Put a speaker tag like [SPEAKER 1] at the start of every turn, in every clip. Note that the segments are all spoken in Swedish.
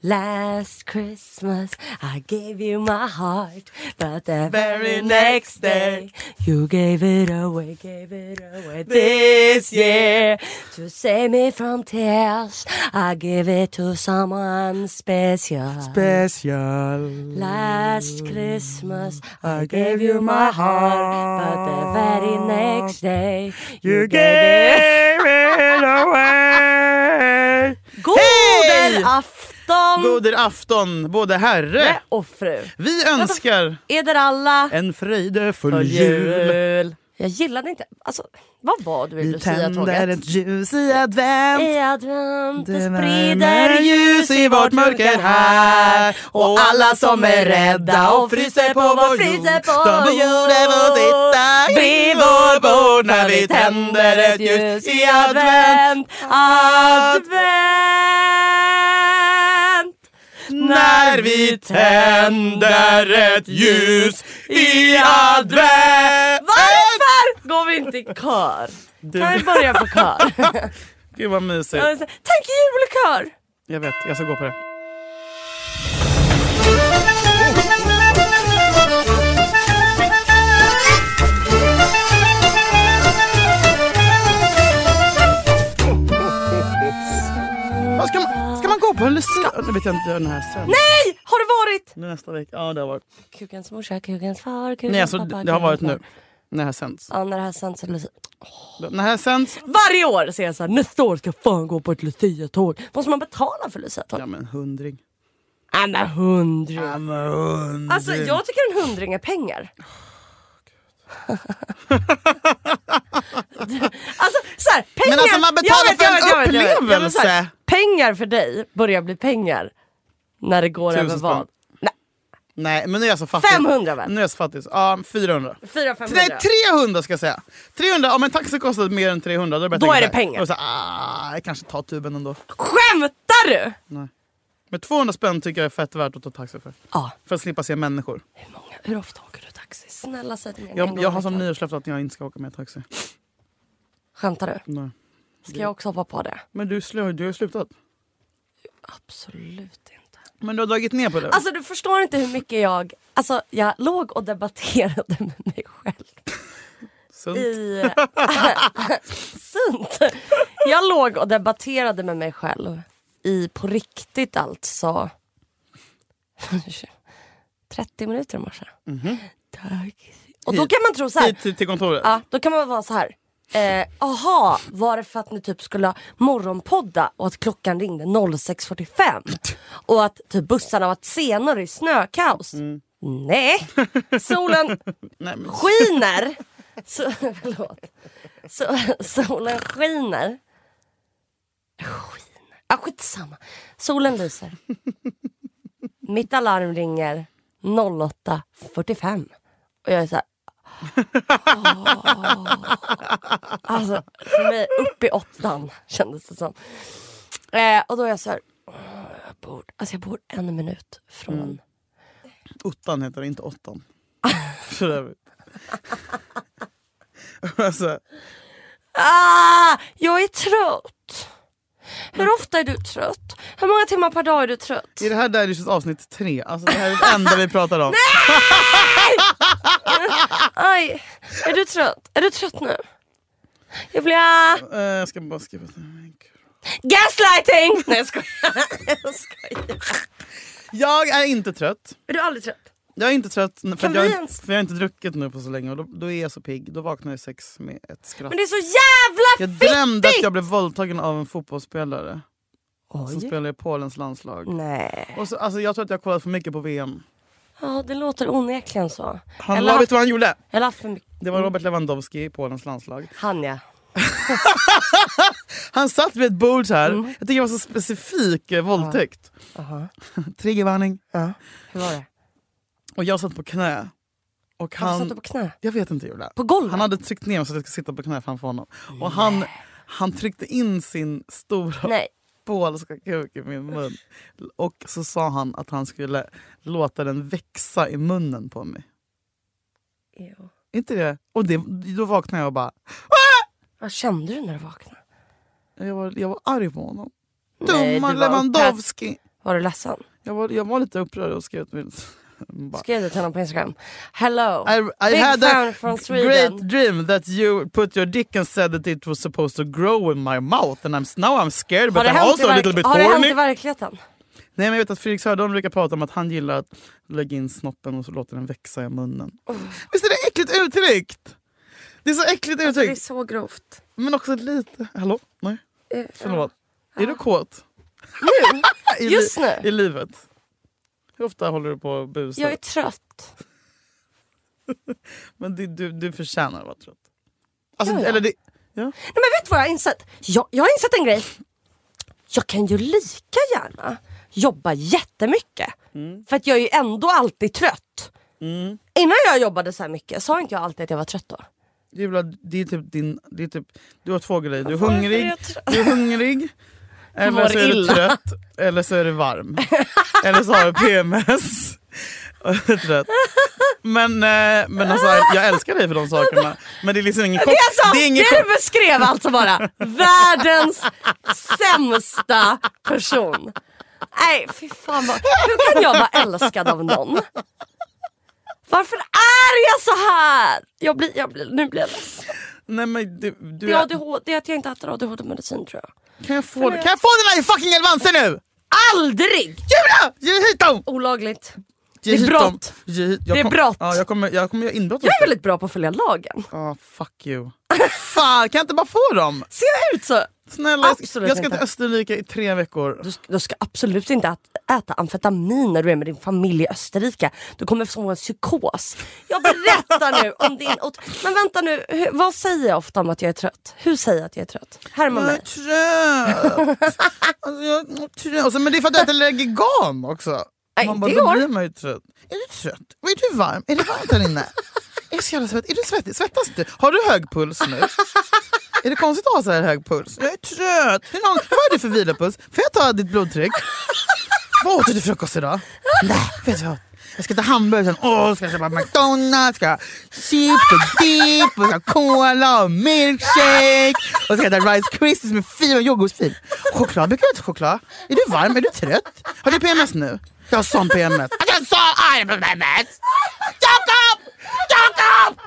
[SPEAKER 1] Last Christmas I gave you my heart But the very next day You gave it away, gave it away this year To save me from tears I give it to someone special
[SPEAKER 2] Special.
[SPEAKER 1] Last Christmas I gave you my heart But the very next day
[SPEAKER 2] You gave it away.
[SPEAKER 1] Goder afton!
[SPEAKER 2] Goder afton, både herre.
[SPEAKER 1] och fru.
[SPEAKER 2] Vi önskar
[SPEAKER 1] Eder alla.
[SPEAKER 2] en fröjdefull jul.
[SPEAKER 1] Jag gillade inte... Alltså, vad var du i
[SPEAKER 2] Vi tänder
[SPEAKER 1] Lucia-tåget?
[SPEAKER 2] ett ljus i advent.
[SPEAKER 1] I advent det
[SPEAKER 2] Det
[SPEAKER 1] sprider
[SPEAKER 2] värmer
[SPEAKER 1] ljus i vårt mörker här Och alla som är rädda och fryser på vår jord
[SPEAKER 2] De borde få sitta vid vår bord när vi tänder ett ljus i advent
[SPEAKER 1] Advent!
[SPEAKER 2] När vi tänder ett ljus i advent
[SPEAKER 1] Varför går vi inte i kör?
[SPEAKER 2] Du,
[SPEAKER 1] Kan vi börja på kör?
[SPEAKER 2] Äh, gud vad mysigt.
[SPEAKER 1] Tack julkör!
[SPEAKER 2] Jag vet, jag ska gå på det. Vad Ska man, ska man gå på en lucia? Nu vet jag inte den här sen.
[SPEAKER 1] Nej! Har det varit?
[SPEAKER 2] Nej! Nästa vecka. Ja det har varit.
[SPEAKER 1] Kukens morsa, kukens far, kukens
[SPEAKER 2] Nej alltså
[SPEAKER 1] pappa.
[SPEAKER 2] det har
[SPEAKER 1] kukens
[SPEAKER 2] varit nu.
[SPEAKER 1] barn.
[SPEAKER 2] När det här sänds.
[SPEAKER 1] Ja, när det här sänds är det Lucia.
[SPEAKER 2] När det här sänds.
[SPEAKER 1] Varje år säger jag såhär, nästa år ska jag fan gå på ett Lucia-tåg. Måste man betala för Lucia-tåg?
[SPEAKER 2] Ja men hundring.
[SPEAKER 1] Ja. men hundring.
[SPEAKER 2] Ja men hundring.
[SPEAKER 1] Alltså jag tycker en hundring är pengar. alltså såhär, pengar.
[SPEAKER 2] Men alltså, man
[SPEAKER 1] Jag
[SPEAKER 2] betalar för
[SPEAKER 1] jag jag
[SPEAKER 2] en
[SPEAKER 1] jag vet. Ja, men så här,
[SPEAKER 2] upplevelse.
[SPEAKER 1] pengar för dig börjar bli pengar när det går
[SPEAKER 2] Tusen
[SPEAKER 1] över
[SPEAKER 2] spänn.
[SPEAKER 1] vad? Nej,
[SPEAKER 2] Nej men nu är jag så fattig.
[SPEAKER 1] 500 väl?
[SPEAKER 2] Nu är jag så fattig. så- Ja 400.
[SPEAKER 1] 400-500.
[SPEAKER 2] Nej 300 ska jag säga. 300, om en taxi kostar mer än 300 då, börjar jag
[SPEAKER 1] Då
[SPEAKER 2] tänka
[SPEAKER 1] är det
[SPEAKER 2] så här.
[SPEAKER 1] pengar.
[SPEAKER 2] Då så här, ah, jag kanske tar tuben ändå.
[SPEAKER 1] Skämtar du?
[SPEAKER 2] Men 200 spänn tycker jag är fett värt att ta taxi för.
[SPEAKER 1] Ja.
[SPEAKER 2] För att slippa se människor.
[SPEAKER 1] Hur, många, hur ofta åker du taxi? Snälla säg till mig. en
[SPEAKER 2] Jag,
[SPEAKER 1] gång
[SPEAKER 2] jag
[SPEAKER 1] i
[SPEAKER 2] har som
[SPEAKER 1] veckan.
[SPEAKER 2] nyårslöfte att jag inte ska åka med taxi.
[SPEAKER 1] Skämtar du?
[SPEAKER 2] Nej.
[SPEAKER 1] Ska jag också hoppa på det?
[SPEAKER 2] Men du, slö, du har ju slutat.
[SPEAKER 1] Absolut inte.
[SPEAKER 2] Men du har dragit ner på det.
[SPEAKER 1] Alltså du förstår inte hur mycket jag... Alltså jag låg och debatterade med mig själv.
[SPEAKER 2] Sunt.
[SPEAKER 1] i... Sunt! Jag låg och debatterade med mig själv i på riktigt alltså 30 minuter i morse. Tack. Och då kan man tro så här,
[SPEAKER 2] Mhm. Hit till, till kontoret.
[SPEAKER 1] ja, då kan man vara så här. Eh, aha, var det för att ni typ skulle ha morgonpodda och att klockan ringde 06.45? Och att typ bussarna var senare i snökaos? Nej, solen
[SPEAKER 2] Nej, men,
[SPEAKER 1] skiner. Så, förlåt. Så, solen skiner. Skiner? Ah, skitsamma. Solen lyser. Mitt alarm ringer 08.45. Och jag är så här... åh. Alltså, för mig upp i åttan kändes det som. Eh, och då är jag så här... åh, Jag bor, alltså jag bor en minut från...
[SPEAKER 2] ottan heter det, inte åttan. För övrigt. alltså,
[SPEAKER 1] Ah, jag är trött. Hur ofta är du trött? Hur många timmar per dag är du trött?
[SPEAKER 2] är det här Dairishs avsnitt tre? Alltså, det här är det enda vi pratar om.
[SPEAKER 1] Aj, är du trött? Är du trött nu? Jag blir... Ah,
[SPEAKER 2] Eh, jag ska bara skriva till min kul.
[SPEAKER 1] gaslighting! Nej jag skojar. jag skojar.
[SPEAKER 2] Jag är inte trött.
[SPEAKER 1] Är du aldrig trött?
[SPEAKER 2] Jag är inte trött för,
[SPEAKER 1] Kan
[SPEAKER 2] att jag,
[SPEAKER 1] vi
[SPEAKER 2] har-
[SPEAKER 1] ens-
[SPEAKER 2] för jag har inte druckit nu på så länge och då, då är jag så pigg. Då vaknar jag sex med ett skratt.
[SPEAKER 1] Men det är så jävla
[SPEAKER 2] Jag
[SPEAKER 1] fittigt!
[SPEAKER 2] drömde att jag blev våldtagen av en fotbollsspelare som
[SPEAKER 1] Oj. Mm.
[SPEAKER 2] spelar i Polens landslag.
[SPEAKER 1] Nej.
[SPEAKER 2] Och så, alltså, jag tror att jag har kollat för mycket på VM.
[SPEAKER 1] Ja det låter onekligen så.
[SPEAKER 2] Han
[SPEAKER 1] Eller Mm.
[SPEAKER 2] la, vet
[SPEAKER 1] haft,
[SPEAKER 2] du vad han gjorde?
[SPEAKER 1] eller haft för mycket...
[SPEAKER 2] Det var Robert Lewandowski i Polens landslag.
[SPEAKER 1] Han ja.
[SPEAKER 2] Han satt vid ett bord så här. Jag tycker det var så specifik eh, våldtäkt.
[SPEAKER 1] Mm. Aha.
[SPEAKER 2] Triggervarning.
[SPEAKER 1] Ja. Hur var det?
[SPEAKER 2] Och jag satt på knä. Och
[SPEAKER 1] Varför
[SPEAKER 2] han...
[SPEAKER 1] satt du på knä?
[SPEAKER 2] Jag vet inte Julia.
[SPEAKER 1] På golvet?
[SPEAKER 2] Han hade tryckt ner mig så att jag skulle sitta på knä framför honom. Och han, han tryckte in sin stora
[SPEAKER 1] Nej.
[SPEAKER 2] polska kuk i min mun. Och så sa han att han skulle låta den växa i munnen på mig.
[SPEAKER 1] Jo.
[SPEAKER 2] Inte det? Och det, då vaknade jag och bara...
[SPEAKER 1] Vad kände du när du vaknade?
[SPEAKER 2] Jag var, jag var arg på honom.
[SPEAKER 1] Nej, du
[SPEAKER 2] Dumma
[SPEAKER 1] var
[SPEAKER 2] Lewandowski!
[SPEAKER 1] Var du ledsen?
[SPEAKER 2] Jag var, jag var lite upprörd och skrev ut min... bara,
[SPEAKER 1] Skrev du till honom på Instagram? Hello!
[SPEAKER 2] I, I
[SPEAKER 1] Big
[SPEAKER 2] had
[SPEAKER 1] fan
[SPEAKER 2] a
[SPEAKER 1] from Sweden.
[SPEAKER 2] great dream that you put your dick and said that it was supposed to grow in my mouth and I'm, s- now I'm scared but
[SPEAKER 1] Har det,
[SPEAKER 2] I'm
[SPEAKER 1] hänt i,
[SPEAKER 2] also a little
[SPEAKER 1] verk-
[SPEAKER 2] bit
[SPEAKER 1] har det hänt
[SPEAKER 2] horny.
[SPEAKER 1] i verkligheten?
[SPEAKER 2] Nej men jag vet att Fredrik Söderholm brukar prata om att han gillar att lägga in snoppen och så låter den växa i munnen. Visst är det äckligt uttryckt? Det är så äckligt
[SPEAKER 1] Det är
[SPEAKER 2] uttryckt.
[SPEAKER 1] så grovt.
[SPEAKER 2] Men också lite... Hallå? Nej,
[SPEAKER 1] Eh,
[SPEAKER 2] förlåt. Är du kåt?
[SPEAKER 1] Nu?
[SPEAKER 2] I li-
[SPEAKER 1] Just nu?
[SPEAKER 2] I livet? Hur ofta håller du på och busar?
[SPEAKER 1] Jag är trött.
[SPEAKER 2] Men det, du, du förtjänar att vara trött. Alltså,
[SPEAKER 1] Ja, ja.
[SPEAKER 2] Eller det,
[SPEAKER 1] Nej men vet du vad jag har insett? Jag, jag har insett en grej. Jag kan ju lika gärna jobba jättemycket.
[SPEAKER 2] Mm.
[SPEAKER 1] För att jag är ju ändå alltid trött. Innan jag jobbade så här mycket sa inte jag alltid att jag var trött då.
[SPEAKER 2] Julia, det är typ din... Det är typ, du har två grejer. Du är
[SPEAKER 1] Varför är
[SPEAKER 2] hungrig,
[SPEAKER 1] jag trött?
[SPEAKER 2] du är hungrig eller
[SPEAKER 1] mår
[SPEAKER 2] så är du
[SPEAKER 1] illa.
[SPEAKER 2] trött, eller så är du varm. eller så har du PMS. och är trött. Men, eh, men alltså, jag älskar dig för de sakerna. Men det är liksom ingen
[SPEAKER 1] Det är alltså,
[SPEAKER 2] det är ingen
[SPEAKER 1] det du beskrev alltså bara. Världens sämsta person. Nej fy fan vad, hur kan jag vara älskad av någon? Varför är jag så här? Jag blir, jag blir, nu blir jag ledsen.
[SPEAKER 2] Nej, men du, du,
[SPEAKER 1] Det är ADHD, det är att jag inte äter ADHD-medicin tror jag.
[SPEAKER 2] kan, jag få, kan jag få den här fucking Elvanse nu?
[SPEAKER 1] Aldrig!
[SPEAKER 2] Julia! Ge hit dem!
[SPEAKER 1] Olagligt.
[SPEAKER 2] Ge hit
[SPEAKER 1] brott.
[SPEAKER 2] dem. Ge hit- jag
[SPEAKER 1] Det är
[SPEAKER 2] kom-
[SPEAKER 1] brott.
[SPEAKER 2] Ja, jag kommer, jag kommer göra inbrott
[SPEAKER 1] Jag är väldigt bra på att följa lagen.
[SPEAKER 2] Ja, fuck you. Fan, kan jag inte bara få dem?
[SPEAKER 1] Ser jag ut så?
[SPEAKER 2] Snälla, jag ska,
[SPEAKER 1] Absolut
[SPEAKER 2] jag ska
[SPEAKER 1] inte.
[SPEAKER 2] till Österrike i tre veckor.
[SPEAKER 1] Du, ska- du ska absolut inte ät- äta amfetamin när du är med din familj i Österrike. Du kommer få en psykos. Jag berättar nu om din... ot- Men vänta nu, hur, vad säger jag ofta om att jag är trött? Hur säger jag att jag är trött? Härma
[SPEAKER 2] Jag är
[SPEAKER 1] mig.
[SPEAKER 2] trött. alltså, jag är trött. Och så- men det är för att jag äter legigan också.
[SPEAKER 1] Nej,
[SPEAKER 2] Man
[SPEAKER 1] det
[SPEAKER 2] bara,
[SPEAKER 1] går.
[SPEAKER 2] då blir man ju trött. Är du trött? Och är du varm? Är det varmt här inne? Är du så jävla svettig? Är du svettig? Svettas du? Har du hög puls nu? är det konstigt att ha så här hög puls? Jag är trött. Hur lång, vad är du för vilopuls? Får jag ta ditt blodtryck? vad åt du till frukost idag? Nej, vet du vad? Jag ska ta hamburgaren, åh, ska jag köpa McDonalds, ska jag ha chips och dipp och ska ha cola och milkshake och ska jag äta Rice Krispies med fin och jordgubbsfil. Choklad, brukar du äta choklad? Är du varm? Är du trött? Har du PMS nu? Jag har sån PMS. Att Jag har sån arg på PMS! Jakob! Jakob!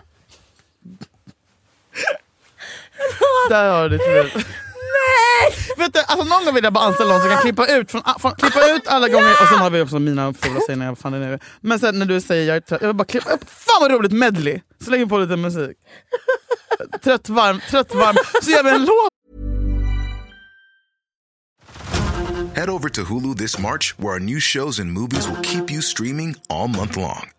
[SPEAKER 2] Där har du det.
[SPEAKER 1] Nej!
[SPEAKER 2] Vet du, alltså någon gång vill jag bara anställa någon som kan klippa ut, från, från, klippa ut alla gånger och sen har vi också mina fula scener, vad fan det nu är. Men sen när du säger jag är trött, jag vill bara klippa upp, fan vad roligt medley! Så lägger vi på lite musik. Trött, varm, trött, varm, så gör vi en låt!
[SPEAKER 3] Head over to Hulu this March, where our new shows and movies will keep you streaming all month long.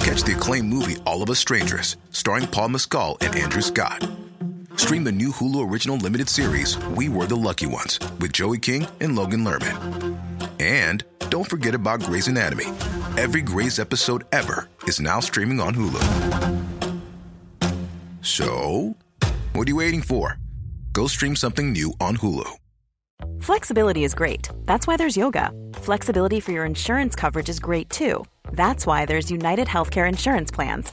[SPEAKER 3] Catch the acclaimed movie All of Us Strangers, starring Paul Mescal and Andrew Scott. Stream the new Hulu original limited series We Were the Lucky Ones with Joey King and Logan Lerman. And don't forget about Grey's Anatomy. Every Grey's episode ever is now streaming on Hulu. So, what are you waiting for? Go stream something new on Hulu.
[SPEAKER 4] Flexibility is great. That's why there's yoga. Flexibility for your insurance coverage is great too. That's why there's United Healthcare Insurance Plans.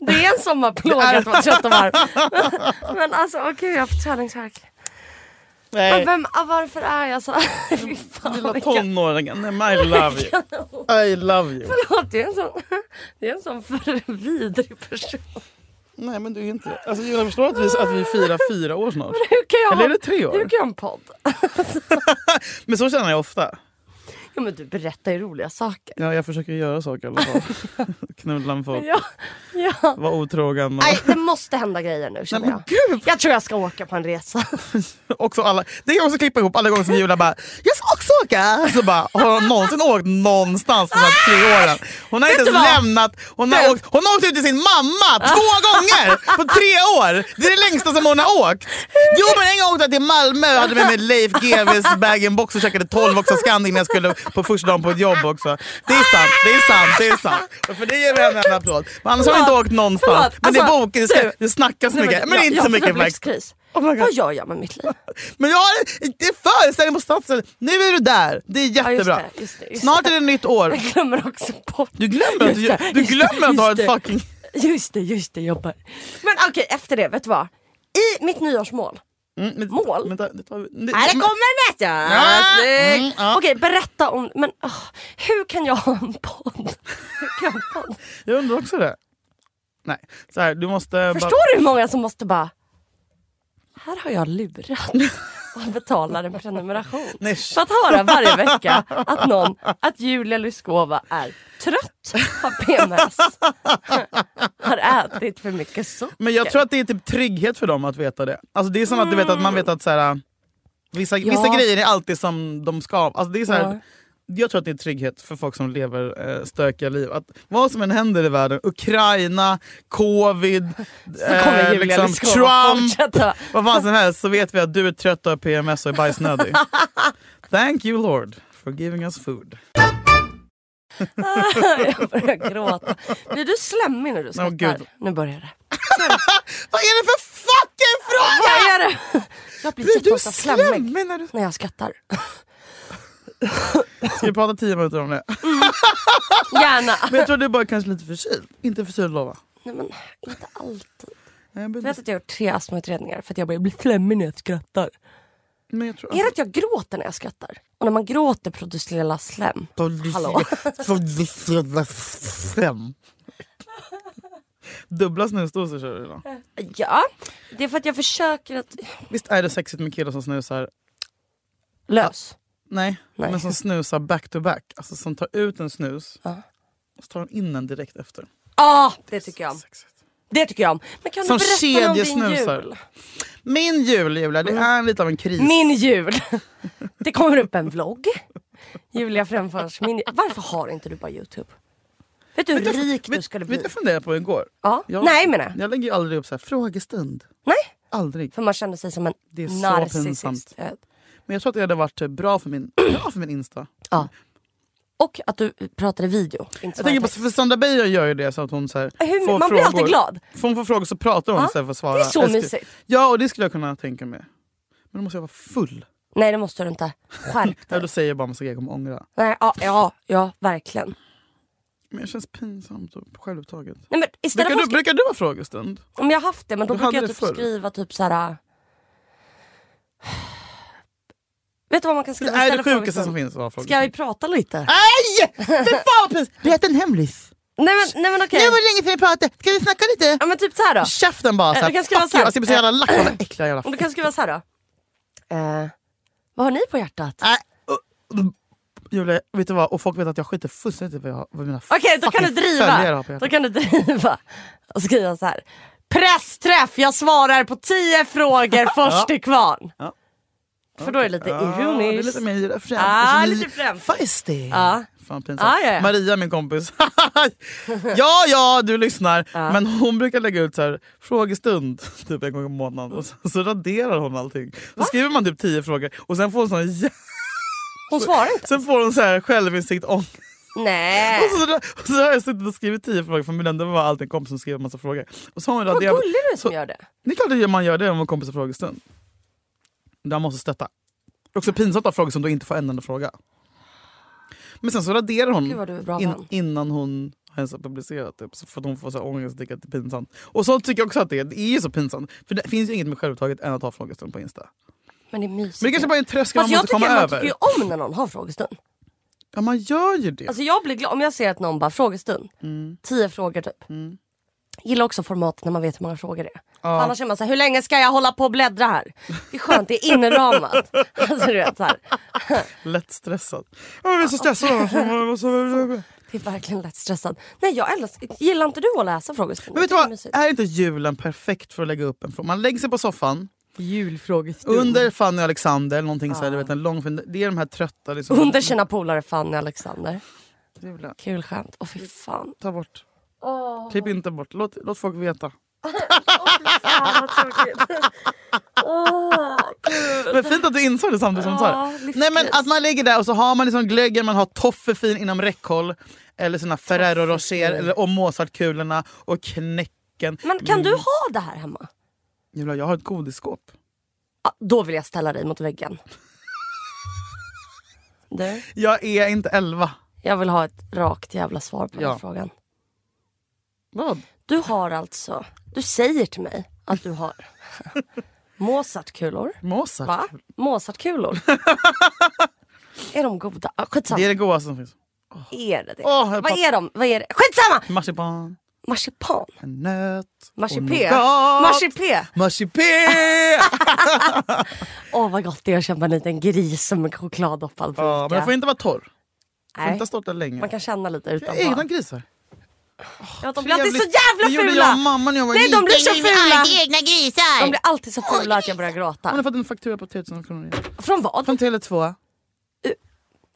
[SPEAKER 1] Det är en sommarplåga att vara trött och varm. Men alltså åh gud jag har fått träningsvärk. Men
[SPEAKER 2] Nej,
[SPEAKER 1] vem, ah, varför är jag så här? Fy fan
[SPEAKER 2] lilla
[SPEAKER 1] vilken-
[SPEAKER 2] tonåringen. Nej, men I love you. I love you.
[SPEAKER 1] Förlåt, det är en sån, det är en sån för vidrig person.
[SPEAKER 2] Nej men du är inte det. Alltså Julia förstår att vi, att vi firar fyra år snart.
[SPEAKER 1] Hur kan jag
[SPEAKER 2] Eller är
[SPEAKER 1] ha
[SPEAKER 2] det tre
[SPEAKER 1] hur
[SPEAKER 2] år?
[SPEAKER 1] kan jag ha en podd?
[SPEAKER 2] Men så känner jag ofta.
[SPEAKER 1] Ja, men du berättar ju roliga saker.
[SPEAKER 2] Ja, jag försöker göra saker i alla fall. Knulla med folk,
[SPEAKER 1] Ja, ja.
[SPEAKER 2] vara otrogen. Och...
[SPEAKER 1] Nej, det måste hända grejer nu känner
[SPEAKER 2] Nej men
[SPEAKER 1] jag.
[SPEAKER 2] gud!
[SPEAKER 1] Jag tror jag ska åka på en resa.
[SPEAKER 2] Också alla, det är också klippa ihop alla gånger som Julia bara “jag ska också åka”. Så bara, har hon någonsin åkt någonstans på de här tre åren? Hon har inte
[SPEAKER 1] du
[SPEAKER 2] ens
[SPEAKER 1] vad?
[SPEAKER 2] lämnat. Hon har, åkt, hon har åkt ut till sin mamma två gånger på tre år. Det är det längsta som hon har åkt. Jo men en gång åkte jag till Malmö och hade med mig Leif GWs bag-in-box och käkade 12 också Scandic när jag skulle på första dagen på ett jobb också. Det är sant, det är sant, det är sant. Och för det ger vi henne en applåd. Men annars har hon inte åkt någonstans.
[SPEAKER 1] Förlåt,
[SPEAKER 2] Men det, är
[SPEAKER 1] alltså,
[SPEAKER 2] bok, det, ska,
[SPEAKER 1] du-
[SPEAKER 2] det snackas
[SPEAKER 1] Nej,
[SPEAKER 2] mycket, men, det är inte
[SPEAKER 1] jag-
[SPEAKER 2] så
[SPEAKER 1] jag
[SPEAKER 2] mycket
[SPEAKER 1] får
[SPEAKER 2] flex.
[SPEAKER 1] livskris.
[SPEAKER 2] Oh my God.
[SPEAKER 1] Vad gör jag med mitt liv?
[SPEAKER 2] Men jag har en, det är föreställning på Stadsdelen. Nu är du där. Det är
[SPEAKER 1] Ja, just
[SPEAKER 2] jättebra.
[SPEAKER 1] det, just det, just
[SPEAKER 2] Snart är det nytt år.
[SPEAKER 1] Jag glömmer också bort.
[SPEAKER 2] Du glömmer att,
[SPEAKER 1] Just det,
[SPEAKER 2] du, du,
[SPEAKER 1] just det,
[SPEAKER 2] glömmer att du har
[SPEAKER 1] just
[SPEAKER 2] ett
[SPEAKER 1] det.
[SPEAKER 2] fucking...
[SPEAKER 1] Just det, just det, jobbar. Men okej, efter det, vet du vad? I mitt nyårsmål.
[SPEAKER 2] Mm, men-
[SPEAKER 1] Mål?
[SPEAKER 2] Vänta, det tar, vi- Mm, det,
[SPEAKER 1] Nej, det kommer nästa!
[SPEAKER 2] Ja, mm, ja.
[SPEAKER 1] Okej, berätta om... Men åh, hur kan jag ha en podd? Hur kan jag ha en podd?
[SPEAKER 2] Jag undrar också det. Nej, så här, du måste... bara-
[SPEAKER 1] Förstår du hur många som måste bara... Här har jag lurat och betalar en prenumeration.
[SPEAKER 2] Nej,
[SPEAKER 1] För att höra varje vecka att någon, att Julia Lyskova är trött, har PMS, har ätit för mycket socker.
[SPEAKER 2] Men jag tror att det är typ trygghet för dem att veta det. Alltså det är som att du vet att man vet att så här, vissa,
[SPEAKER 1] Ja.
[SPEAKER 2] vissa grejer är alltid som de ska. Alltså det är så här,
[SPEAKER 1] Ja.
[SPEAKER 2] Jag tror att det är trygghet för folk som lever eh, stökiga liv. Att vad som än händer i världen, Ukraina, covid,
[SPEAKER 1] Då kommer
[SPEAKER 2] eh,
[SPEAKER 1] Julia
[SPEAKER 2] liksom,
[SPEAKER 1] Lyskova
[SPEAKER 2] Trump,
[SPEAKER 1] fortsätta.
[SPEAKER 2] vad fan som helst så vet vi att du är trött och har PMS och är bajsnödig. Thank you Lord for giving us food.
[SPEAKER 1] Jag börjar gråta. Blir du slemmig när du skrattar?
[SPEAKER 2] gud.
[SPEAKER 1] nu börjar det.
[SPEAKER 2] Vad är det för fucking
[SPEAKER 1] Vad
[SPEAKER 2] fråga?
[SPEAKER 1] är det? Jag blir
[SPEAKER 2] Blir du
[SPEAKER 1] jätteofta slemmig
[SPEAKER 2] slemmig när du...
[SPEAKER 1] när jag skrattar.
[SPEAKER 2] Ska vi prata tio minuter om det?
[SPEAKER 1] Gärna.
[SPEAKER 2] Men jag tror du bara är kanske lite förkyld. Inte förkyld lova.
[SPEAKER 1] Nej, men inte alltid.
[SPEAKER 2] Nej, men-
[SPEAKER 1] Du vet att jag har gjort tre astmautredningar för att jag börjar bli slemmig när jag skrattar.
[SPEAKER 2] Men jag tror...
[SPEAKER 1] Är det att jag gråter när jag skrattar? Och när man gråter produceras slem.
[SPEAKER 2] Alltså,
[SPEAKER 1] Hallå?
[SPEAKER 2] Fem. Dubbla snusdosor kör du idag.
[SPEAKER 1] Ja, det är för att jag försöker att...
[SPEAKER 2] Visst är det sexigt med killar som snusar,
[SPEAKER 1] Lös.
[SPEAKER 2] nej,
[SPEAKER 1] Nej.
[SPEAKER 2] men som snusar back to back. Alltså som tar ut en snus
[SPEAKER 1] Ja.
[SPEAKER 2] och så tar de in den direkt efter.
[SPEAKER 1] Ja, ah, det tycker jag om.
[SPEAKER 2] Sexigt.
[SPEAKER 1] Det tycker jag om. Men kan
[SPEAKER 2] Som
[SPEAKER 1] du berätta om din
[SPEAKER 2] kedjesnusar.
[SPEAKER 1] jul? Mm.
[SPEAKER 2] Min jul Julia, det är lite av en kris.
[SPEAKER 1] Min jul. Det kommer upp en vlogg. Julia framförs min... Varför har inte du bara Youtube? Vet du hur
[SPEAKER 2] Vet du-
[SPEAKER 1] rik du
[SPEAKER 2] vet-
[SPEAKER 1] skulle bli?
[SPEAKER 2] Vet du jag funderade på igår?
[SPEAKER 1] Ja.
[SPEAKER 2] Jag-
[SPEAKER 1] Nej menar jag.
[SPEAKER 2] Jag lägger ju aldrig upp så här, frågestund.
[SPEAKER 1] Nej.
[SPEAKER 2] Aldrig.
[SPEAKER 1] För man känner sig som en
[SPEAKER 2] Det är så pinsamt.
[SPEAKER 1] narcissist.
[SPEAKER 2] Men jag tror att det hade varit eh, bra för min, bra för min Insta.
[SPEAKER 1] Ja. Och att du pratade video. Inte
[SPEAKER 2] Jag
[SPEAKER 1] bara
[SPEAKER 2] tänker på,
[SPEAKER 1] text.
[SPEAKER 2] för Sandra Beijer gör ju det så att hon så här,
[SPEAKER 1] Hur-
[SPEAKER 2] får
[SPEAKER 1] man blir
[SPEAKER 2] frågor.
[SPEAKER 1] alltid glad.
[SPEAKER 2] Får hon får frågor så pratar hon
[SPEAKER 1] Ja,
[SPEAKER 2] istället för att svara.
[SPEAKER 1] det är så
[SPEAKER 2] Jag skulle-
[SPEAKER 1] mysigt.
[SPEAKER 2] Ja och det skulle jag kunna tänka mig. Men då måste jag vara full.
[SPEAKER 1] Nej det måste du inte. Skärp
[SPEAKER 2] Ja,
[SPEAKER 1] dig.
[SPEAKER 2] då säger jag bara massa grejer jag kommer ångra.
[SPEAKER 1] Nej, ja, ja, ja, verkligen.
[SPEAKER 2] Men det känns pinsamt och självupptaget.
[SPEAKER 1] Nej, men istället
[SPEAKER 2] Brukar
[SPEAKER 1] för
[SPEAKER 2] du,
[SPEAKER 1] att skri-
[SPEAKER 2] brukar du ha frågestund?
[SPEAKER 1] Om jag haft det, men då
[SPEAKER 2] Du
[SPEAKER 1] brukar
[SPEAKER 2] hade
[SPEAKER 1] jag
[SPEAKER 2] det
[SPEAKER 1] typ
[SPEAKER 2] förr.
[SPEAKER 1] skriva typ så här. äh, Vet du vad man kan
[SPEAKER 2] Det
[SPEAKER 1] skriva
[SPEAKER 2] är det
[SPEAKER 1] istället för
[SPEAKER 2] sjukaste
[SPEAKER 1] frågestund?
[SPEAKER 2] som finns att ha
[SPEAKER 1] Ska vi
[SPEAKER 2] frågestund.
[SPEAKER 1] prata lite?
[SPEAKER 2] Nej! Fy fan vad pinsamt! Berätta en hemlis.
[SPEAKER 1] Nej men, nej, men okej.
[SPEAKER 2] det länge sedan vi pratade, ska vi snacka lite?
[SPEAKER 1] Ja men typ så här då.
[SPEAKER 2] Käften bara
[SPEAKER 1] Eh,
[SPEAKER 2] såhär,
[SPEAKER 1] du kan
[SPEAKER 2] fuck
[SPEAKER 1] skriva
[SPEAKER 2] you!
[SPEAKER 1] så här.
[SPEAKER 2] Alltså jag blir så jävla lack på den här äckliga jävla...
[SPEAKER 1] Om du kan skriva så här då. Eh, vad har ni på hjärtat?
[SPEAKER 2] Nej, uh, uh, Julia, vet du vad? Och folk vet att jag skiter fullständigt i vad, jag, har- vad mina
[SPEAKER 1] Okej då kan du
[SPEAKER 2] Ah, fucking följare
[SPEAKER 1] driva.
[SPEAKER 2] har på hjärtat.
[SPEAKER 1] Då kan du driva. Och skriva så här. Pressträff, jag svarar på tio frågor först till kvarn.
[SPEAKER 2] Ja.
[SPEAKER 1] För då är det lite
[SPEAKER 2] Ja, det är
[SPEAKER 1] ironiskt.
[SPEAKER 2] lite mer främt.
[SPEAKER 1] Ah,
[SPEAKER 2] Ni-
[SPEAKER 1] lite främt.
[SPEAKER 2] Feisty.
[SPEAKER 1] Ja.
[SPEAKER 2] Fan, pinsamt.
[SPEAKER 1] Ah, ja, ja.
[SPEAKER 2] Maria min kompis. ja ja du lyssnar.
[SPEAKER 1] Ah.
[SPEAKER 2] Men hon brukar lägga ut så här, frågestund typ en gång i månaden och så, så raderar hon allting. Så skriver man typ tio frågor och sen får hon, sån här, jä-
[SPEAKER 1] Hon svarar inte.
[SPEAKER 2] sen får hon så här självinsikt om
[SPEAKER 1] Nej.
[SPEAKER 2] Och så, och så har jag suttit och skrivit tio frågor för min det var alltid en kompis som skrev en massa frågor. Och så har hon
[SPEAKER 1] Vad
[SPEAKER 2] raderat-
[SPEAKER 1] gullig du är som
[SPEAKER 2] så-
[SPEAKER 1] gör det.
[SPEAKER 2] Det är klart att man gör det om man kommer till frågestund. Där måste stötta. Det är också pinsamt att ha frågestund och inte få en enda fråga. Men sen så raderar
[SPEAKER 1] Gud, vad du är
[SPEAKER 2] hon
[SPEAKER 1] bra vän.
[SPEAKER 2] innan hon har ens har publicerat det. Så för att hon får så här ångest och tycker att det är pinsamt. Och så tycker jag också att det är. Det är ju så pinsamt. För det finns ju inget mer självupptaget än att ha frågestund på Insta.
[SPEAKER 1] Men det är mysigt.
[SPEAKER 2] Men det kanske bara är en tröskel man
[SPEAKER 1] Fast jag
[SPEAKER 2] måste
[SPEAKER 1] tycker
[SPEAKER 2] komma
[SPEAKER 1] man
[SPEAKER 2] över.
[SPEAKER 1] tycker ju om när någon har frågestund.
[SPEAKER 2] Ja man gör ju det.
[SPEAKER 1] Alltså jag blir glad om jag ser att
[SPEAKER 2] Mm.
[SPEAKER 1] någon bara frågestund. Tio frågor typ. Gillar också formatet när man vet hur många frågor det är. Annars är man såhär, hur länge ska jag hålla på och bläddra här? Det är skönt, det är inramat. alltså du vet såhär.
[SPEAKER 2] Lätt stressad. Jag blir så stressad.
[SPEAKER 1] Det är verkligen lätt stressad. Nej jag älskar, gillar inte du att läsa frågestund?
[SPEAKER 2] Men vet du
[SPEAKER 1] Det är
[SPEAKER 2] vad, Äh,
[SPEAKER 1] mysigt.
[SPEAKER 2] är inte julen perfekt för att lägga upp en fråga? Man lägger sig på soffan
[SPEAKER 1] Julfrågestund.
[SPEAKER 2] under Fanny och Alexander, eller någonting så här, du vet, en lång, fin- det är de här trötta... Liksom,
[SPEAKER 1] Under sina polare Fanny och Alexander.
[SPEAKER 2] Julen.
[SPEAKER 1] Kul skämt. Åh fy fan.
[SPEAKER 2] Ta bort. Klipp inte bort, låt, låt folk veta. Men fint att du insåg det samtidigt som du
[SPEAKER 1] Ja,
[SPEAKER 2] sa det.
[SPEAKER 1] livskris.
[SPEAKER 2] Nej, men Att man ligger där och så har man liksom glöggen, man har toffefin inom räckhåll. Eller sina Ferrero Rocher eller, och Mozartkulorna och knäcken.
[SPEAKER 1] Men kan du ha det här hemma?
[SPEAKER 2] Julia, jag har ett godisskåp.
[SPEAKER 1] Ja, då vill jag ställa dig mot väggen. Du,
[SPEAKER 2] Jag är inte elva.
[SPEAKER 1] jag vill ha ett rakt jävla svar på den
[SPEAKER 2] Ja.
[SPEAKER 1] här frågan.
[SPEAKER 2] Vad?
[SPEAKER 1] Du har alltså, du säger till mig att du har Mozartkulor.
[SPEAKER 2] Mozart?
[SPEAKER 1] Va? Mozartkulor? är de goda? Ah, Skitsamma.
[SPEAKER 2] Det är det godaste som finns.
[SPEAKER 1] Är det det?
[SPEAKER 2] Åh, jag
[SPEAKER 1] Vad
[SPEAKER 2] pratar-
[SPEAKER 1] är de? Vad är det? Skitsamma!
[SPEAKER 2] Marsipan,
[SPEAKER 1] Marsipan?
[SPEAKER 2] en nöt och
[SPEAKER 1] Marsipé?
[SPEAKER 2] nougat.
[SPEAKER 1] Marsipé?
[SPEAKER 2] Marsipé!
[SPEAKER 1] Åh vad gott det är att köpa en liten gris med chokladdoppad på
[SPEAKER 2] ja, men den får inte vara torr. Den får
[SPEAKER 1] Nej,
[SPEAKER 2] inte stå där länge.
[SPEAKER 1] Man kan känna lite
[SPEAKER 2] Jag
[SPEAKER 1] utanpå.
[SPEAKER 2] har egna grisar.
[SPEAKER 1] Ja, de blir alltid så
[SPEAKER 2] Trevligt. Det
[SPEAKER 1] jävla
[SPEAKER 2] gjorde jag och
[SPEAKER 1] fula!
[SPEAKER 2] mamma när jag var
[SPEAKER 1] Nej, de
[SPEAKER 2] liten.
[SPEAKER 1] blir så fula!
[SPEAKER 5] egna grisar.
[SPEAKER 1] De blir alltid så fula att jag börjar
[SPEAKER 2] Hon har
[SPEAKER 1] gråta.
[SPEAKER 2] fått en faktura på 3000 kronor. igen.
[SPEAKER 1] Från vad?
[SPEAKER 2] Från Tele2.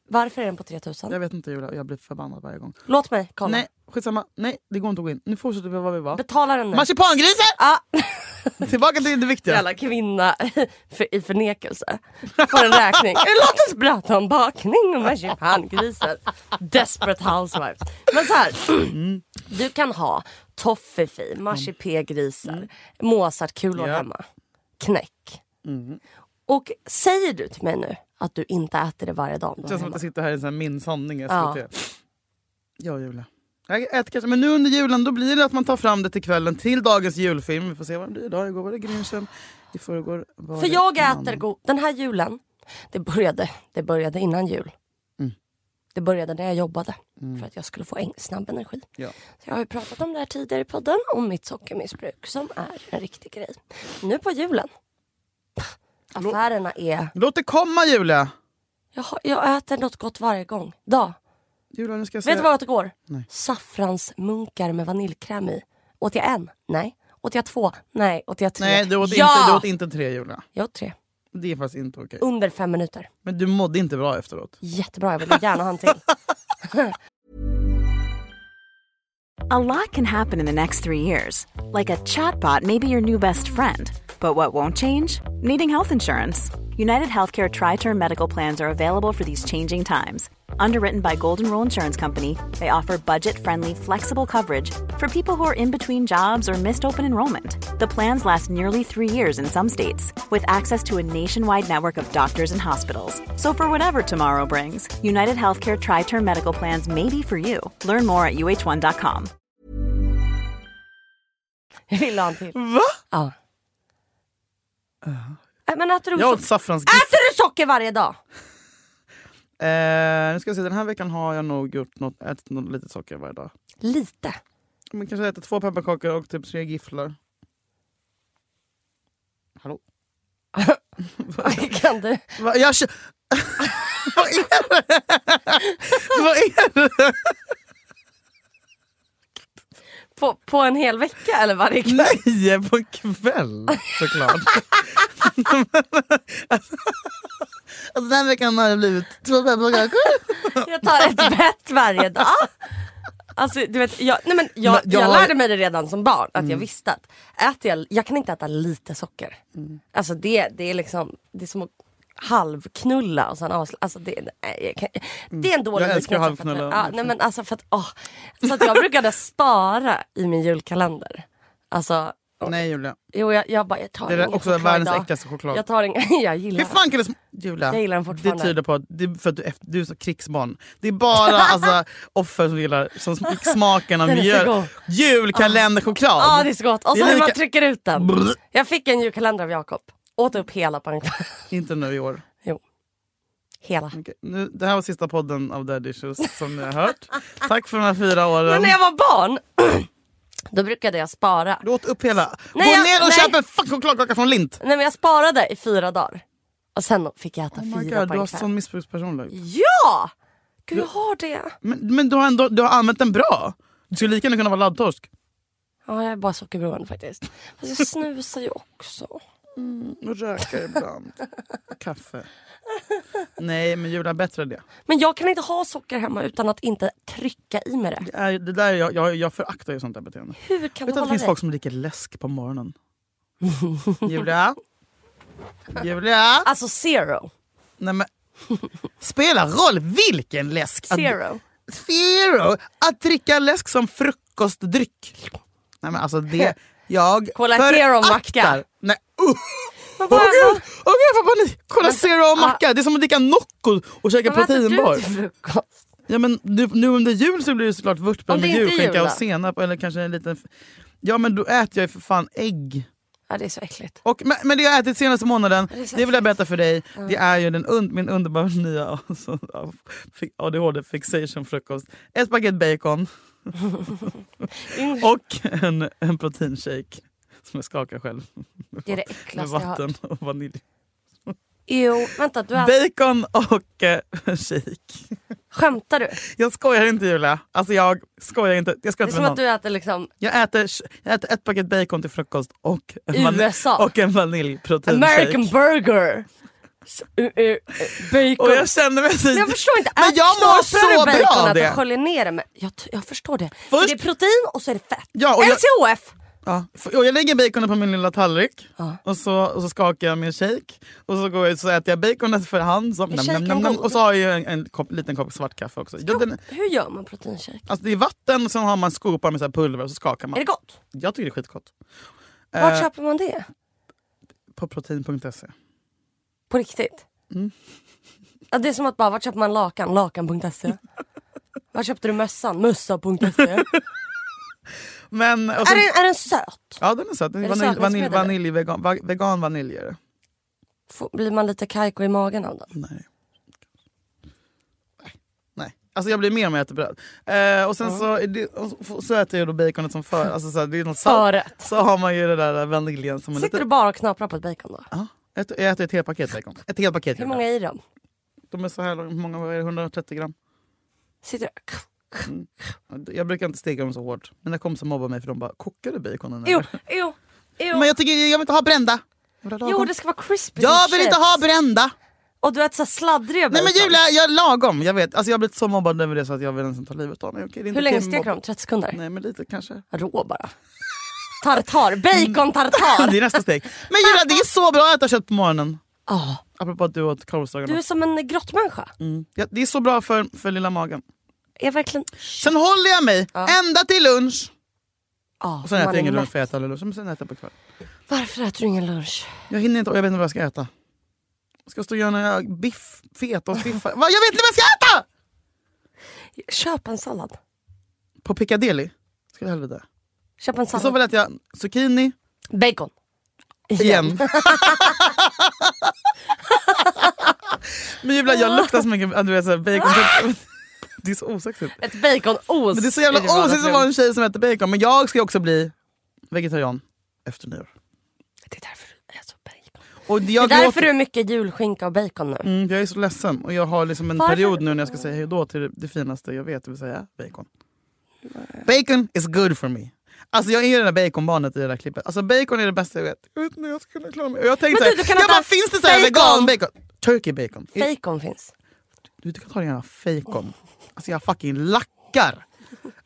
[SPEAKER 1] Varför är den på 3000?
[SPEAKER 2] Jag vet inte Julia, jag blir förbannad varje gång.
[SPEAKER 1] Låt mig kolla.
[SPEAKER 2] Nej, skitsamma. Nej, det går inte att gå in. Nu fortsätter vi var vi var.
[SPEAKER 1] Betala den nu.
[SPEAKER 2] Marsipangrisar!
[SPEAKER 1] Ah,
[SPEAKER 2] Tillbaka till det viktiga.
[SPEAKER 1] jävla kvinna för, i förnekelse. Får en räkning. Låt oss prata om bakning och marsipangrisar. Desperate housewives. Men så här.
[SPEAKER 2] Mm.
[SPEAKER 1] Du kan ha toffefi, marsipégrisar, mozartkulor
[SPEAKER 2] Mm. Ja. Mm.
[SPEAKER 1] hemma. Knäck. Och säger du till mig nu att du inte äter det varje dag om du
[SPEAKER 2] Det känns
[SPEAKER 1] har
[SPEAKER 2] som att jag
[SPEAKER 1] hemma?
[SPEAKER 2] sitter här i en sån här min sanning SVT.
[SPEAKER 1] Ja.
[SPEAKER 2] Ja. Julia. Jag äter kanske, men nu under julen då blir det att man tar fram det till kvällen till dagens julfilm. Vi får se vad det blir idag. Igår var det Grinchen. I förrgår var
[SPEAKER 1] För
[SPEAKER 2] det
[SPEAKER 1] jag
[SPEAKER 2] Mannen.
[SPEAKER 1] äter god... Den här julen, det började, det började innan jul.
[SPEAKER 2] Mm.
[SPEAKER 1] Det började när jag jobbade för att jag skulle få en, snabb energi.
[SPEAKER 2] Ja.
[SPEAKER 1] Så jag har ju pratat om det här tidigare i podden, om mitt sockermissbruk som är en riktig grej. Nu på julen. Affärerna är...
[SPEAKER 2] Låt det komma Julia!
[SPEAKER 1] Jag, har, jag äter något gott varje gång. Dag.
[SPEAKER 2] Julia nu ska jag säga...
[SPEAKER 1] Vet du vad jag åt igår?
[SPEAKER 2] Nej.
[SPEAKER 1] Saffransmunkar med vaniljkräm i. Åt jag en? Nej. Åt jag två? Nej. Åt jag tre?
[SPEAKER 2] Nej du åt,
[SPEAKER 1] ja! Oh.
[SPEAKER 2] inte, du åt inte tre Julia.
[SPEAKER 1] Jag åt tre.
[SPEAKER 2] Det är faktiskt inte okej.
[SPEAKER 1] Under fem minuter.
[SPEAKER 2] Men du mådde inte bra efteråt.
[SPEAKER 1] Jättebra, jag vill gärna ha en till.
[SPEAKER 4] A lot can happen in the next three years. Like a chatbot may be your new best friend. But what won't change? Needing health insurance. United Healthcare Tri Term Medical Plans are available for these changing times. Underwritten by Golden Rule Insurance Company, they offer budget friendly, flexible coverage for people who are in between jobs or missed open enrollment. The plans last nearly three years in some states, with access to a nationwide network of doctors and hospitals. So, for whatever tomorrow brings, United Healthcare Tri Term Medical Plans may be for you. Learn more at uh1.com.
[SPEAKER 1] Jag vill ha en till.
[SPEAKER 2] Va?
[SPEAKER 1] Ja. Äh, Men äter du,
[SPEAKER 2] Jag åt
[SPEAKER 1] so-
[SPEAKER 2] saffransgris.
[SPEAKER 1] äter du socker varje dag?
[SPEAKER 2] Eh, nu ska jag se, den här veckan har jag nog gjort något, ätit något litet socker varje dag.
[SPEAKER 1] Lite.
[SPEAKER 2] Men kanske äter två pepparkakor och typ tre gifflar. Hallå?
[SPEAKER 1] kan du?
[SPEAKER 2] Va, jag kö- Vad är det? Vad är det?
[SPEAKER 1] På, på en hel vecka eller varje kväll?
[SPEAKER 2] Nej, på en kväll såklart. alltså, den här veckan har det blivit två pepparkakor.
[SPEAKER 1] Jag tar ett bett varje dag. Alltså, du vet, jag, nej men jag, jag,
[SPEAKER 2] Men jag har- Mm.
[SPEAKER 1] lärde mig det redan som barn, att jag visste att äter jag, jag kan inte äta lite socker.
[SPEAKER 2] Mm.
[SPEAKER 1] Alltså det, det är liksom, det är som att halvknulla och sen avsluta. Alltså det, nej, jag kan, det är en dålig
[SPEAKER 2] Mm. Jag älskar
[SPEAKER 1] liknelse för att-
[SPEAKER 2] halvknulla,
[SPEAKER 1] Ja, nej
[SPEAKER 2] verkligen.
[SPEAKER 1] men alltså för att, åh, så att jag brukade spara i min julkalender. Alltså,
[SPEAKER 2] Nej Julia,
[SPEAKER 1] jo jag, jag bara, jag tar
[SPEAKER 2] det är
[SPEAKER 1] ingen
[SPEAKER 2] också
[SPEAKER 1] choklad
[SPEAKER 2] världens
[SPEAKER 1] idag.
[SPEAKER 2] äckligaste choklad.
[SPEAKER 1] Jag tar ingen, jag gillar
[SPEAKER 2] Hur
[SPEAKER 1] den.
[SPEAKER 2] fan kan det sm- Julia,
[SPEAKER 1] Jag gillar den fortfarande.
[SPEAKER 2] det tyder på att, det är för att du, är- du är så krigsbarn. Det är bara alltså, offer som gillar som sm- smaken av
[SPEAKER 1] Den är så
[SPEAKER 2] mjöl.
[SPEAKER 1] god.
[SPEAKER 2] Julkalenderchoklad!
[SPEAKER 1] Ja ah, det är så gott. Och
[SPEAKER 2] Det
[SPEAKER 1] så
[SPEAKER 2] är
[SPEAKER 1] hur man
[SPEAKER 2] lika-
[SPEAKER 1] trycker ut den.
[SPEAKER 2] Brr.
[SPEAKER 1] Jag fick en julkalender av Jakob. Åt upp hela på en kväll.
[SPEAKER 2] Inte nu i år.
[SPEAKER 1] Jo. Hela.
[SPEAKER 2] Okej, Nu, det här var sista podden av Dead Issues som ni har hört. Tack för de här fyra åren.
[SPEAKER 1] Men när jag var barn Då brukade jag spara.
[SPEAKER 2] Du åt upp hela.
[SPEAKER 1] Nej,
[SPEAKER 2] Gå
[SPEAKER 1] jag-
[SPEAKER 2] ner och
[SPEAKER 1] nej.
[SPEAKER 2] köp en fucking chokladkaka från Lindt.
[SPEAKER 1] Nej men jag sparade i fyra dagar. Och sen fick jag äta
[SPEAKER 2] Oh my
[SPEAKER 1] fyra
[SPEAKER 2] God, du har
[SPEAKER 1] poäng per.
[SPEAKER 2] sån missbrukspersonlighet.
[SPEAKER 1] Ja! Gud jag har det.
[SPEAKER 2] liksom. Men, men du, har ändå, du har använt den bra. Du skulle lika gärna kunna vara laddtorsk.
[SPEAKER 1] Ja jag är bara sockerberoende faktiskt. Fast jag snusar ju också.
[SPEAKER 2] Och röka ibland. Kaffe. Nej, men Julia, bättre det.
[SPEAKER 1] Men jag kan inte ha socker hemma utan att inte trycka i mig det.
[SPEAKER 2] det, är, det där, jag, jag, jag föraktar ju sånt där beteende.
[SPEAKER 1] Hur kan
[SPEAKER 2] Vet
[SPEAKER 1] du
[SPEAKER 2] du att det
[SPEAKER 1] hålla
[SPEAKER 2] finns
[SPEAKER 1] det?
[SPEAKER 2] folk som dricker läsk på morgonen? Julia? Julia?
[SPEAKER 1] Alltså zero.
[SPEAKER 2] Nej, men, spelar roll vilken läsk? Att,
[SPEAKER 1] Zero.
[SPEAKER 2] Zero. Att dricka läsk som frukostdryck. Nej men alltså det... Jag
[SPEAKER 1] Cola Zero och macka.
[SPEAKER 2] föraktar- Nej uh.
[SPEAKER 1] Men
[SPEAKER 2] Åh
[SPEAKER 1] vad-
[SPEAKER 2] gud, åh gud jag får panik! Cola Zero och
[SPEAKER 1] ah.
[SPEAKER 2] macka, det är som att dricka Nocco och käka
[SPEAKER 1] vad äter
[SPEAKER 2] proteinbar.
[SPEAKER 1] du till frukost?
[SPEAKER 2] Ja, men nu, nu under jul så blir det såklart vörtbröd
[SPEAKER 1] Om det inte
[SPEAKER 2] med
[SPEAKER 1] är jul
[SPEAKER 2] julskinka
[SPEAKER 1] då?
[SPEAKER 2] och senap eller kanske en liten... Ja men då äter jag ju för fan ägg.
[SPEAKER 1] Ja det är så äckligt.
[SPEAKER 2] Och, men, men det jag har ätit senaste månaden,
[SPEAKER 1] Det är så
[SPEAKER 2] det vill jag berätta för dig, det är ju den, und- min underbara nya alltså, fi- ADHD fixation frukost. Ett paket bacon
[SPEAKER 1] Mm,
[SPEAKER 2] och en, en proteinshake som jag skakar själv
[SPEAKER 1] Det är det
[SPEAKER 2] med
[SPEAKER 1] äckligaste jag har hört.
[SPEAKER 2] vatten och vanilj.
[SPEAKER 1] Jo, vänta du har...
[SPEAKER 2] Bacon och eh, en shake.
[SPEAKER 1] Skämtar du?
[SPEAKER 2] Jag skojar inte Julia. Alltså jag skojar inte. Jag ska
[SPEAKER 1] Det är
[SPEAKER 2] inte
[SPEAKER 1] som
[SPEAKER 2] med någon.
[SPEAKER 1] att du äter liksom
[SPEAKER 2] Jag äter, jag äter ett paket bacon till frukost och en,
[SPEAKER 1] USA.
[SPEAKER 2] och en vaniljproteinshake.
[SPEAKER 1] American burger. S- ö- ö- ö- Bacon.
[SPEAKER 2] Och jag känner mig så...
[SPEAKER 1] Men jag förstår inte.
[SPEAKER 2] Men
[SPEAKER 1] Ät
[SPEAKER 2] jag mår
[SPEAKER 1] knaprare
[SPEAKER 2] så
[SPEAKER 1] bacon
[SPEAKER 2] bra av
[SPEAKER 1] att
[SPEAKER 2] det.
[SPEAKER 1] du sköljer ner det. Men jag, t- jag förstår det.
[SPEAKER 2] Först-
[SPEAKER 1] Det är protein och så är det fett.
[SPEAKER 2] Ja, och jag-
[SPEAKER 1] LCHF.
[SPEAKER 2] Ja. f- Och jag lägger baconet på min lilla tallrik
[SPEAKER 1] Ja.
[SPEAKER 2] och, så, och så skakar jag min shake och så, går jag, ut så äter jag baconet för hand. Så,
[SPEAKER 1] Men
[SPEAKER 2] nam, nam,
[SPEAKER 1] shaken
[SPEAKER 2] nam, nam.
[SPEAKER 1] går-
[SPEAKER 2] och så har jag ju en, en kopp, liten kopp svart kaffe också. Ja, den,
[SPEAKER 1] Hur gör man proteinshake?
[SPEAKER 2] alltså det är vatten och sen har man skopar med så här pulver och så skakar
[SPEAKER 1] Är
[SPEAKER 2] man.
[SPEAKER 1] det gott?
[SPEAKER 2] Jag tycker det är skitgott.
[SPEAKER 1] Vart
[SPEAKER 2] Eh,
[SPEAKER 1] köper man det?
[SPEAKER 2] på protein.se.
[SPEAKER 1] På riktigt?
[SPEAKER 2] Mm.
[SPEAKER 1] Ja, det är som att bara, vart köper man lakan? Lakan.se. Var köpte du mössan? Mössa.se.
[SPEAKER 2] Men, och
[SPEAKER 1] E. är,
[SPEAKER 2] sen,
[SPEAKER 1] den, är den söt?
[SPEAKER 2] Ja den är söt. Den
[SPEAKER 1] Är
[SPEAKER 2] är
[SPEAKER 1] det
[SPEAKER 2] vanilj, vanilj,
[SPEAKER 1] sötningsmedel?
[SPEAKER 2] vanilj, vegan, va- vegan vanilj är det.
[SPEAKER 1] Får, blir man lite kajko i magen av den?
[SPEAKER 2] Nej. Nej. Nej. Alltså jag blir mer om jag äter bröd. Eh, och sen så, är det, och så- så äter jag då baconet som för, alltså så här, det är något salt.
[SPEAKER 1] Förrätt.
[SPEAKER 2] Så har man ju det där vaniljen som en
[SPEAKER 1] Sitter du
[SPEAKER 2] liten...
[SPEAKER 1] bara och knaprar på ett bacon då?
[SPEAKER 2] Ja. Jag äter- jag äter ett helt paket bacon. Ett helt paket.
[SPEAKER 1] Hur
[SPEAKER 2] Julia.
[SPEAKER 1] många är i dem?
[SPEAKER 2] De är så här långa, hur många vad är det, 130 gram.
[SPEAKER 1] Sitter du...
[SPEAKER 2] Mm. Jag brukar inte steka dem så hårt. Mina kompisar mobbar mig för de bara, kokar du baconen
[SPEAKER 1] Jo,
[SPEAKER 2] eller?
[SPEAKER 1] jo, jo.
[SPEAKER 2] Men jag tycker, jag vill inte ha brända. Jag vill ha
[SPEAKER 1] Jo
[SPEAKER 2] lagom.
[SPEAKER 1] det ska vara crispy
[SPEAKER 2] jag
[SPEAKER 1] som
[SPEAKER 2] vill inte
[SPEAKER 1] chips.
[SPEAKER 2] ha brända!
[SPEAKER 1] Och du äter såhär sladdriga
[SPEAKER 2] Nej men
[SPEAKER 1] bacon.
[SPEAKER 2] Julia, jag är lagom. Jag vet. Alltså, jag har blivit så mobbad över det så att jag vill nästan ta livet av mig. Okej, det är inte
[SPEAKER 1] Hur länge
[SPEAKER 2] till
[SPEAKER 1] stek
[SPEAKER 2] mobb-
[SPEAKER 1] de? 30 sekunder?
[SPEAKER 2] Nej men lite kanske.
[SPEAKER 1] Rå bara. Tartar, bacon
[SPEAKER 2] Det
[SPEAKER 1] tartar.
[SPEAKER 2] är nästa steg. Men Julia det är så bra att äta kött på morgonen.
[SPEAKER 1] Ja,
[SPEAKER 2] Apropå att du åt
[SPEAKER 1] Ah, du är
[SPEAKER 2] korvstroganoff.
[SPEAKER 1] som en grottmänniska.
[SPEAKER 2] Mm. Ja, det är så bra för, för lilla magen.
[SPEAKER 1] Är verkligen...
[SPEAKER 2] Sen håller jag mig ända till lunch.
[SPEAKER 1] Ja,
[SPEAKER 2] Och sen äter
[SPEAKER 1] man
[SPEAKER 2] jag
[SPEAKER 1] är
[SPEAKER 2] ingen lunch
[SPEAKER 1] mätt.
[SPEAKER 2] för jag äter aldrig lunch. Men sen äter jag på kvällen.
[SPEAKER 1] Ah, Varför äter du ingen lunch?
[SPEAKER 2] Jag hinner inte och jag vet inte vad jag ska äta. Jag ska stå och göra några biff, fetaostbiffar. Vad, jag vet inte vad jag ska äta!
[SPEAKER 1] Köp en sallad.
[SPEAKER 2] På Piccadilly. Ska vi helvete.
[SPEAKER 1] Köp en
[SPEAKER 2] I så
[SPEAKER 1] sallad.
[SPEAKER 2] fall äter jag zucchini
[SPEAKER 1] Bacon.
[SPEAKER 2] igen. men Julia jag luktar så mycket. Du vet såhär bacon. Det är så osexigt.
[SPEAKER 1] Ett baconost.
[SPEAKER 2] Men det är så jävla
[SPEAKER 1] i vardagsrum.
[SPEAKER 2] osexigt att vara en tjej som äter bacon. Men jag ska ju också bli vegetarian efter nyår.
[SPEAKER 1] Det är därför du är så bacon.
[SPEAKER 2] Och jag,
[SPEAKER 1] det är därför
[SPEAKER 2] gråter-
[SPEAKER 1] du är mycket julskinka och bacon nu.
[SPEAKER 2] mm, jag är så ledsen och jag har liksom en
[SPEAKER 1] Varför?
[SPEAKER 2] period nu när jag ska säga hej då till det, det finaste jag vet, det vill säga bacon. Bacon is good for me. Alltså jag är ju det där baconbarnet i det där klippet. Alltså bacon är det bästa jag vet. Jag vet inte hur jag ska kunna klara mig. Och jag tänkte
[SPEAKER 1] Men
[SPEAKER 2] såhär,
[SPEAKER 1] du, du kan
[SPEAKER 2] jag
[SPEAKER 1] äta
[SPEAKER 2] bara finns det såhär
[SPEAKER 1] bacon?
[SPEAKER 2] vegan bacon? Turkey bacon.
[SPEAKER 1] Bacon finns.
[SPEAKER 2] Du, du kan ta din jävla fejkon. Alltså jag fucking lackar.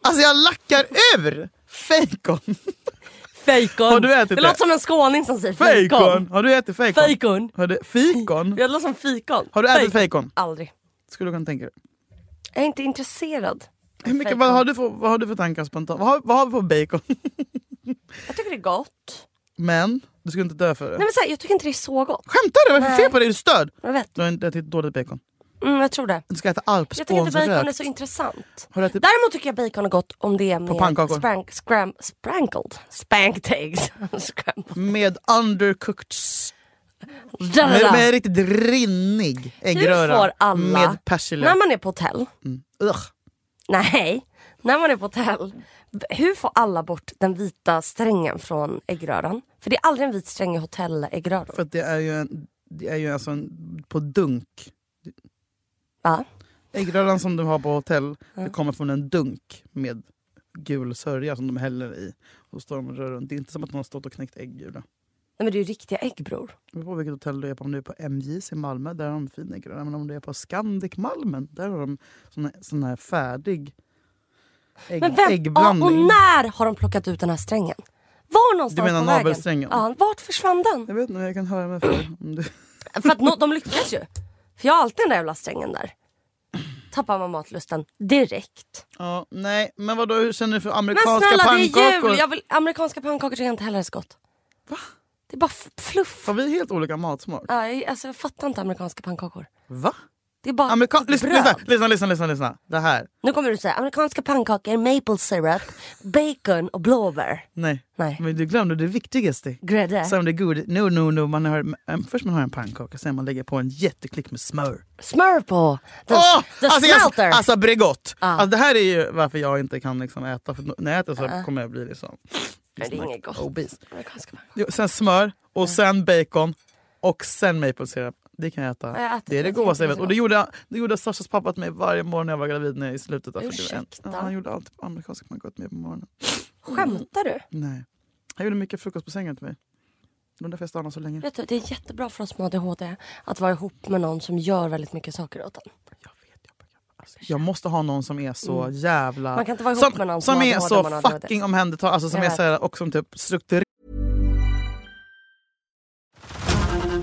[SPEAKER 2] Alltså jag lackar ur fejkon.
[SPEAKER 1] Bacon.
[SPEAKER 2] Har du ätit
[SPEAKER 1] det
[SPEAKER 2] det?
[SPEAKER 1] låter som en skåning som säger
[SPEAKER 2] Fejkon!
[SPEAKER 1] fejkon.
[SPEAKER 2] Har du ätit fejkon?
[SPEAKER 1] Fejkon.
[SPEAKER 2] Har du, fikon?
[SPEAKER 1] Jag låter som fikon.
[SPEAKER 2] Har du ätit fejkon?
[SPEAKER 1] Aldrig.
[SPEAKER 2] Skulle du kunna tänka dig.
[SPEAKER 1] Jag är inte intresserad.
[SPEAKER 2] Hur mycket,
[SPEAKER 1] Fejkon.
[SPEAKER 2] vad, har du för, vad har du för tankar spontant? Vad har, vad har vi på bacon?
[SPEAKER 1] Jag tycker det är gott.
[SPEAKER 2] Men du skulle inte dö för det.
[SPEAKER 1] Nej, men så här, jag tycker inte det är så gott.
[SPEAKER 2] Skämtar du? Vad är det för
[SPEAKER 1] Nej.
[SPEAKER 2] fel på dig? Är du störd?
[SPEAKER 1] Jag vet.
[SPEAKER 2] Du har inte ätit dåligt bacon.
[SPEAKER 1] Mm, jag tror det.
[SPEAKER 2] Du ska äta
[SPEAKER 1] Jag tycker inte
[SPEAKER 2] alpspån som
[SPEAKER 1] bacon är
[SPEAKER 2] rökt.
[SPEAKER 1] så intressant.
[SPEAKER 2] Har du ätit
[SPEAKER 1] Däremot tycker jag bacon är gott om det är med
[SPEAKER 2] Typ- pannkakor.
[SPEAKER 1] sprank, scram, sprankled. Spanked eggs. Scrambled.
[SPEAKER 2] med undercooked... s-
[SPEAKER 1] Da, da,
[SPEAKER 2] Med,
[SPEAKER 1] da.
[SPEAKER 2] med riktigt rinnig äggröra.
[SPEAKER 1] får alla-
[SPEAKER 2] Med persilja.
[SPEAKER 1] När man är på hotell.
[SPEAKER 2] Ugh.
[SPEAKER 1] Nej. När man är på hotell Hur får alla bort den vita strängen från äggröran? För det är aldrig en vit sträng i hotelläggröror.
[SPEAKER 2] För att det är ju, en, det är ju alltså en, på dunk.
[SPEAKER 1] Va?
[SPEAKER 2] Äggröran som de har på hotell det kommer från en dunk med gul sörja som de häller i. Och står de och rör runt. Det är inte som att någon har stått och knäckt äggula.
[SPEAKER 1] Nej men det är ju riktiga äggbror.
[SPEAKER 2] Det beror på vilket hotell du är på. Om du är på MJs i Malmö, där har de fin äggröra. Men om du är på Scandic Malmen, där har de sån, sån här färdig ägg,
[SPEAKER 1] Men vem, ja, och
[SPEAKER 2] äggblandning.
[SPEAKER 1] när har de plockat ut den här strängen? Var någonstans
[SPEAKER 2] Du menar
[SPEAKER 1] på vägen?
[SPEAKER 2] navelsträngen?
[SPEAKER 1] Ja, vart försvann den?
[SPEAKER 2] Jag vet inte, jag kan höra mig för. Om du...
[SPEAKER 1] För att nå- de lyckas ju. För jag har alltid den där jävla strängen där. Tappar man matlusten direkt.
[SPEAKER 2] ja, nej, men vadå, hur känner du för
[SPEAKER 1] Men
[SPEAKER 2] amerikanska
[SPEAKER 1] snälla det är
[SPEAKER 2] pannkakor?
[SPEAKER 1] jul! Jag vill, amerikanska pannkakor tycker jag inte heller är så gott.
[SPEAKER 2] Va?
[SPEAKER 1] Det är bara f- fluff.
[SPEAKER 2] Har vi helt olika matsmak?
[SPEAKER 1] Ja, jag, alltså, jag fattar inte amerikanska pannkakor.
[SPEAKER 2] Va?
[SPEAKER 1] Det är bara
[SPEAKER 2] Amerika-
[SPEAKER 1] bröd.
[SPEAKER 2] lyssna, lyssna, lyssna, lyssna, lyssna, lyssna. Det här.
[SPEAKER 1] Nu kommer du säga amerikanska pannkakor, maple syrup, bacon och blåbär.
[SPEAKER 2] Nej.
[SPEAKER 1] Nej.
[SPEAKER 2] Men du glömde det viktigaste.
[SPEAKER 1] Grädde.
[SPEAKER 2] Som det god. No, no, no. Man har, äm, först man har en pannkaka, sen man lägger på en jätteklick med smör.
[SPEAKER 1] Smör på! The,
[SPEAKER 2] Åh!
[SPEAKER 1] the
[SPEAKER 2] alltså,
[SPEAKER 1] smelter! Ah.
[SPEAKER 2] jag, alltså Bregott. Alltså, det här är ju varför jag inte kan liksom äta. För när jag äter så
[SPEAKER 1] Ah.
[SPEAKER 2] kommer jag bli liksom...
[SPEAKER 1] Men det är inget gott.
[SPEAKER 2] Obese.
[SPEAKER 1] Amerikanska pannkakor.
[SPEAKER 2] Jo, Sen smör,
[SPEAKER 1] Ah.
[SPEAKER 2] och sen bacon och sen maple syrup. Det kan jag äta.
[SPEAKER 1] Jag äter
[SPEAKER 2] det är
[SPEAKER 1] det.
[SPEAKER 2] det
[SPEAKER 1] Jag
[SPEAKER 2] godaste
[SPEAKER 1] tycker
[SPEAKER 2] jag
[SPEAKER 1] det är
[SPEAKER 2] vet. Och det gjorde, det gjorde Sashas pappa till mig varje morgon när jag var gravid när jag i slutet. av 41.
[SPEAKER 1] Ursäkta.
[SPEAKER 2] Ja, han gjorde alltid amerikansk pannkaka till mig på morgonen.
[SPEAKER 1] Skämtar du?
[SPEAKER 2] Nej. Han gjorde mycket frukost på sängen till mig. Det var därför jag stannade så länge.
[SPEAKER 1] Vet du, det är jättebra för oss med ADHD att vara ihop med någon som gör väldigt mycket saker åt en.
[SPEAKER 2] Jag vet, jag, alltså, jag måste ha någon som är så jävla...
[SPEAKER 1] Mm. Man kan inte vara ihop
[SPEAKER 2] som,
[SPEAKER 1] med någon som
[SPEAKER 2] som,
[SPEAKER 1] har
[SPEAKER 2] är
[SPEAKER 1] ADHD, man
[SPEAKER 2] så
[SPEAKER 1] har ADHD.
[SPEAKER 2] fucking omhändertagen. Alltså, som
[SPEAKER 1] Jag
[SPEAKER 2] är
[SPEAKER 1] vet.
[SPEAKER 2] så här, och som typ strukturerar.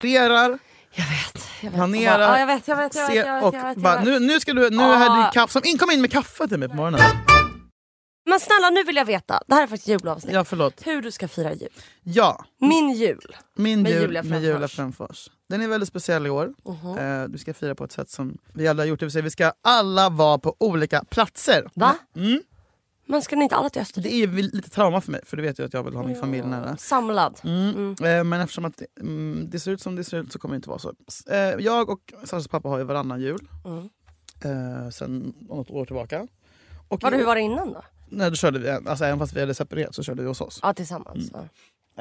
[SPEAKER 1] Jag vet. Jag vet.
[SPEAKER 2] Planerar,
[SPEAKER 1] Ja, jag vet, jag vet, jag vet.
[SPEAKER 2] ser
[SPEAKER 1] Jag vet,
[SPEAKER 2] och
[SPEAKER 1] jag vet, jag
[SPEAKER 2] bara,
[SPEAKER 1] vet.
[SPEAKER 2] nu, nu ska du, nu
[SPEAKER 1] Ah.
[SPEAKER 2] är det kaffe som in, kom in med kaffe till mig på morgonen.
[SPEAKER 1] Men snälla nu vill jag veta, det här är faktiskt julavsnitt.
[SPEAKER 2] Ja förlåt.
[SPEAKER 1] Hur du ska fira jul.
[SPEAKER 2] Ja,
[SPEAKER 1] Min jul.
[SPEAKER 2] min
[SPEAKER 1] Med
[SPEAKER 2] jul
[SPEAKER 1] Julia Mhm.
[SPEAKER 2] med
[SPEAKER 1] Fränfors.
[SPEAKER 2] Julia Fränfors. Den är väldigt speciell i år. Eh, vi ska fira på ett sätt som vi alla har gjort, det vill säga vi ska alla vara på olika platser.
[SPEAKER 1] Va?
[SPEAKER 2] Mm.
[SPEAKER 1] Men ska ni inte alla till Österrike?
[SPEAKER 2] Det är ju lite trauma för mig, för du vet ju att jag vill ha min familj nära.
[SPEAKER 1] Samlad. Mm.
[SPEAKER 2] Eh, Men eftersom att det, mm, det ser ut som det ser ut så kommer det inte vara så. S- eh, Jag och Sashas pappa har ju varannan jul.
[SPEAKER 1] Mm.
[SPEAKER 2] Eh, Sen något år tillbaka. Och
[SPEAKER 1] Var det,
[SPEAKER 2] i-
[SPEAKER 1] hur var det innan då?
[SPEAKER 2] Nej, då körde vi, alltså, även fast vi hade separerat så körde vi hos oss.
[SPEAKER 1] Ja tillsammans. ja.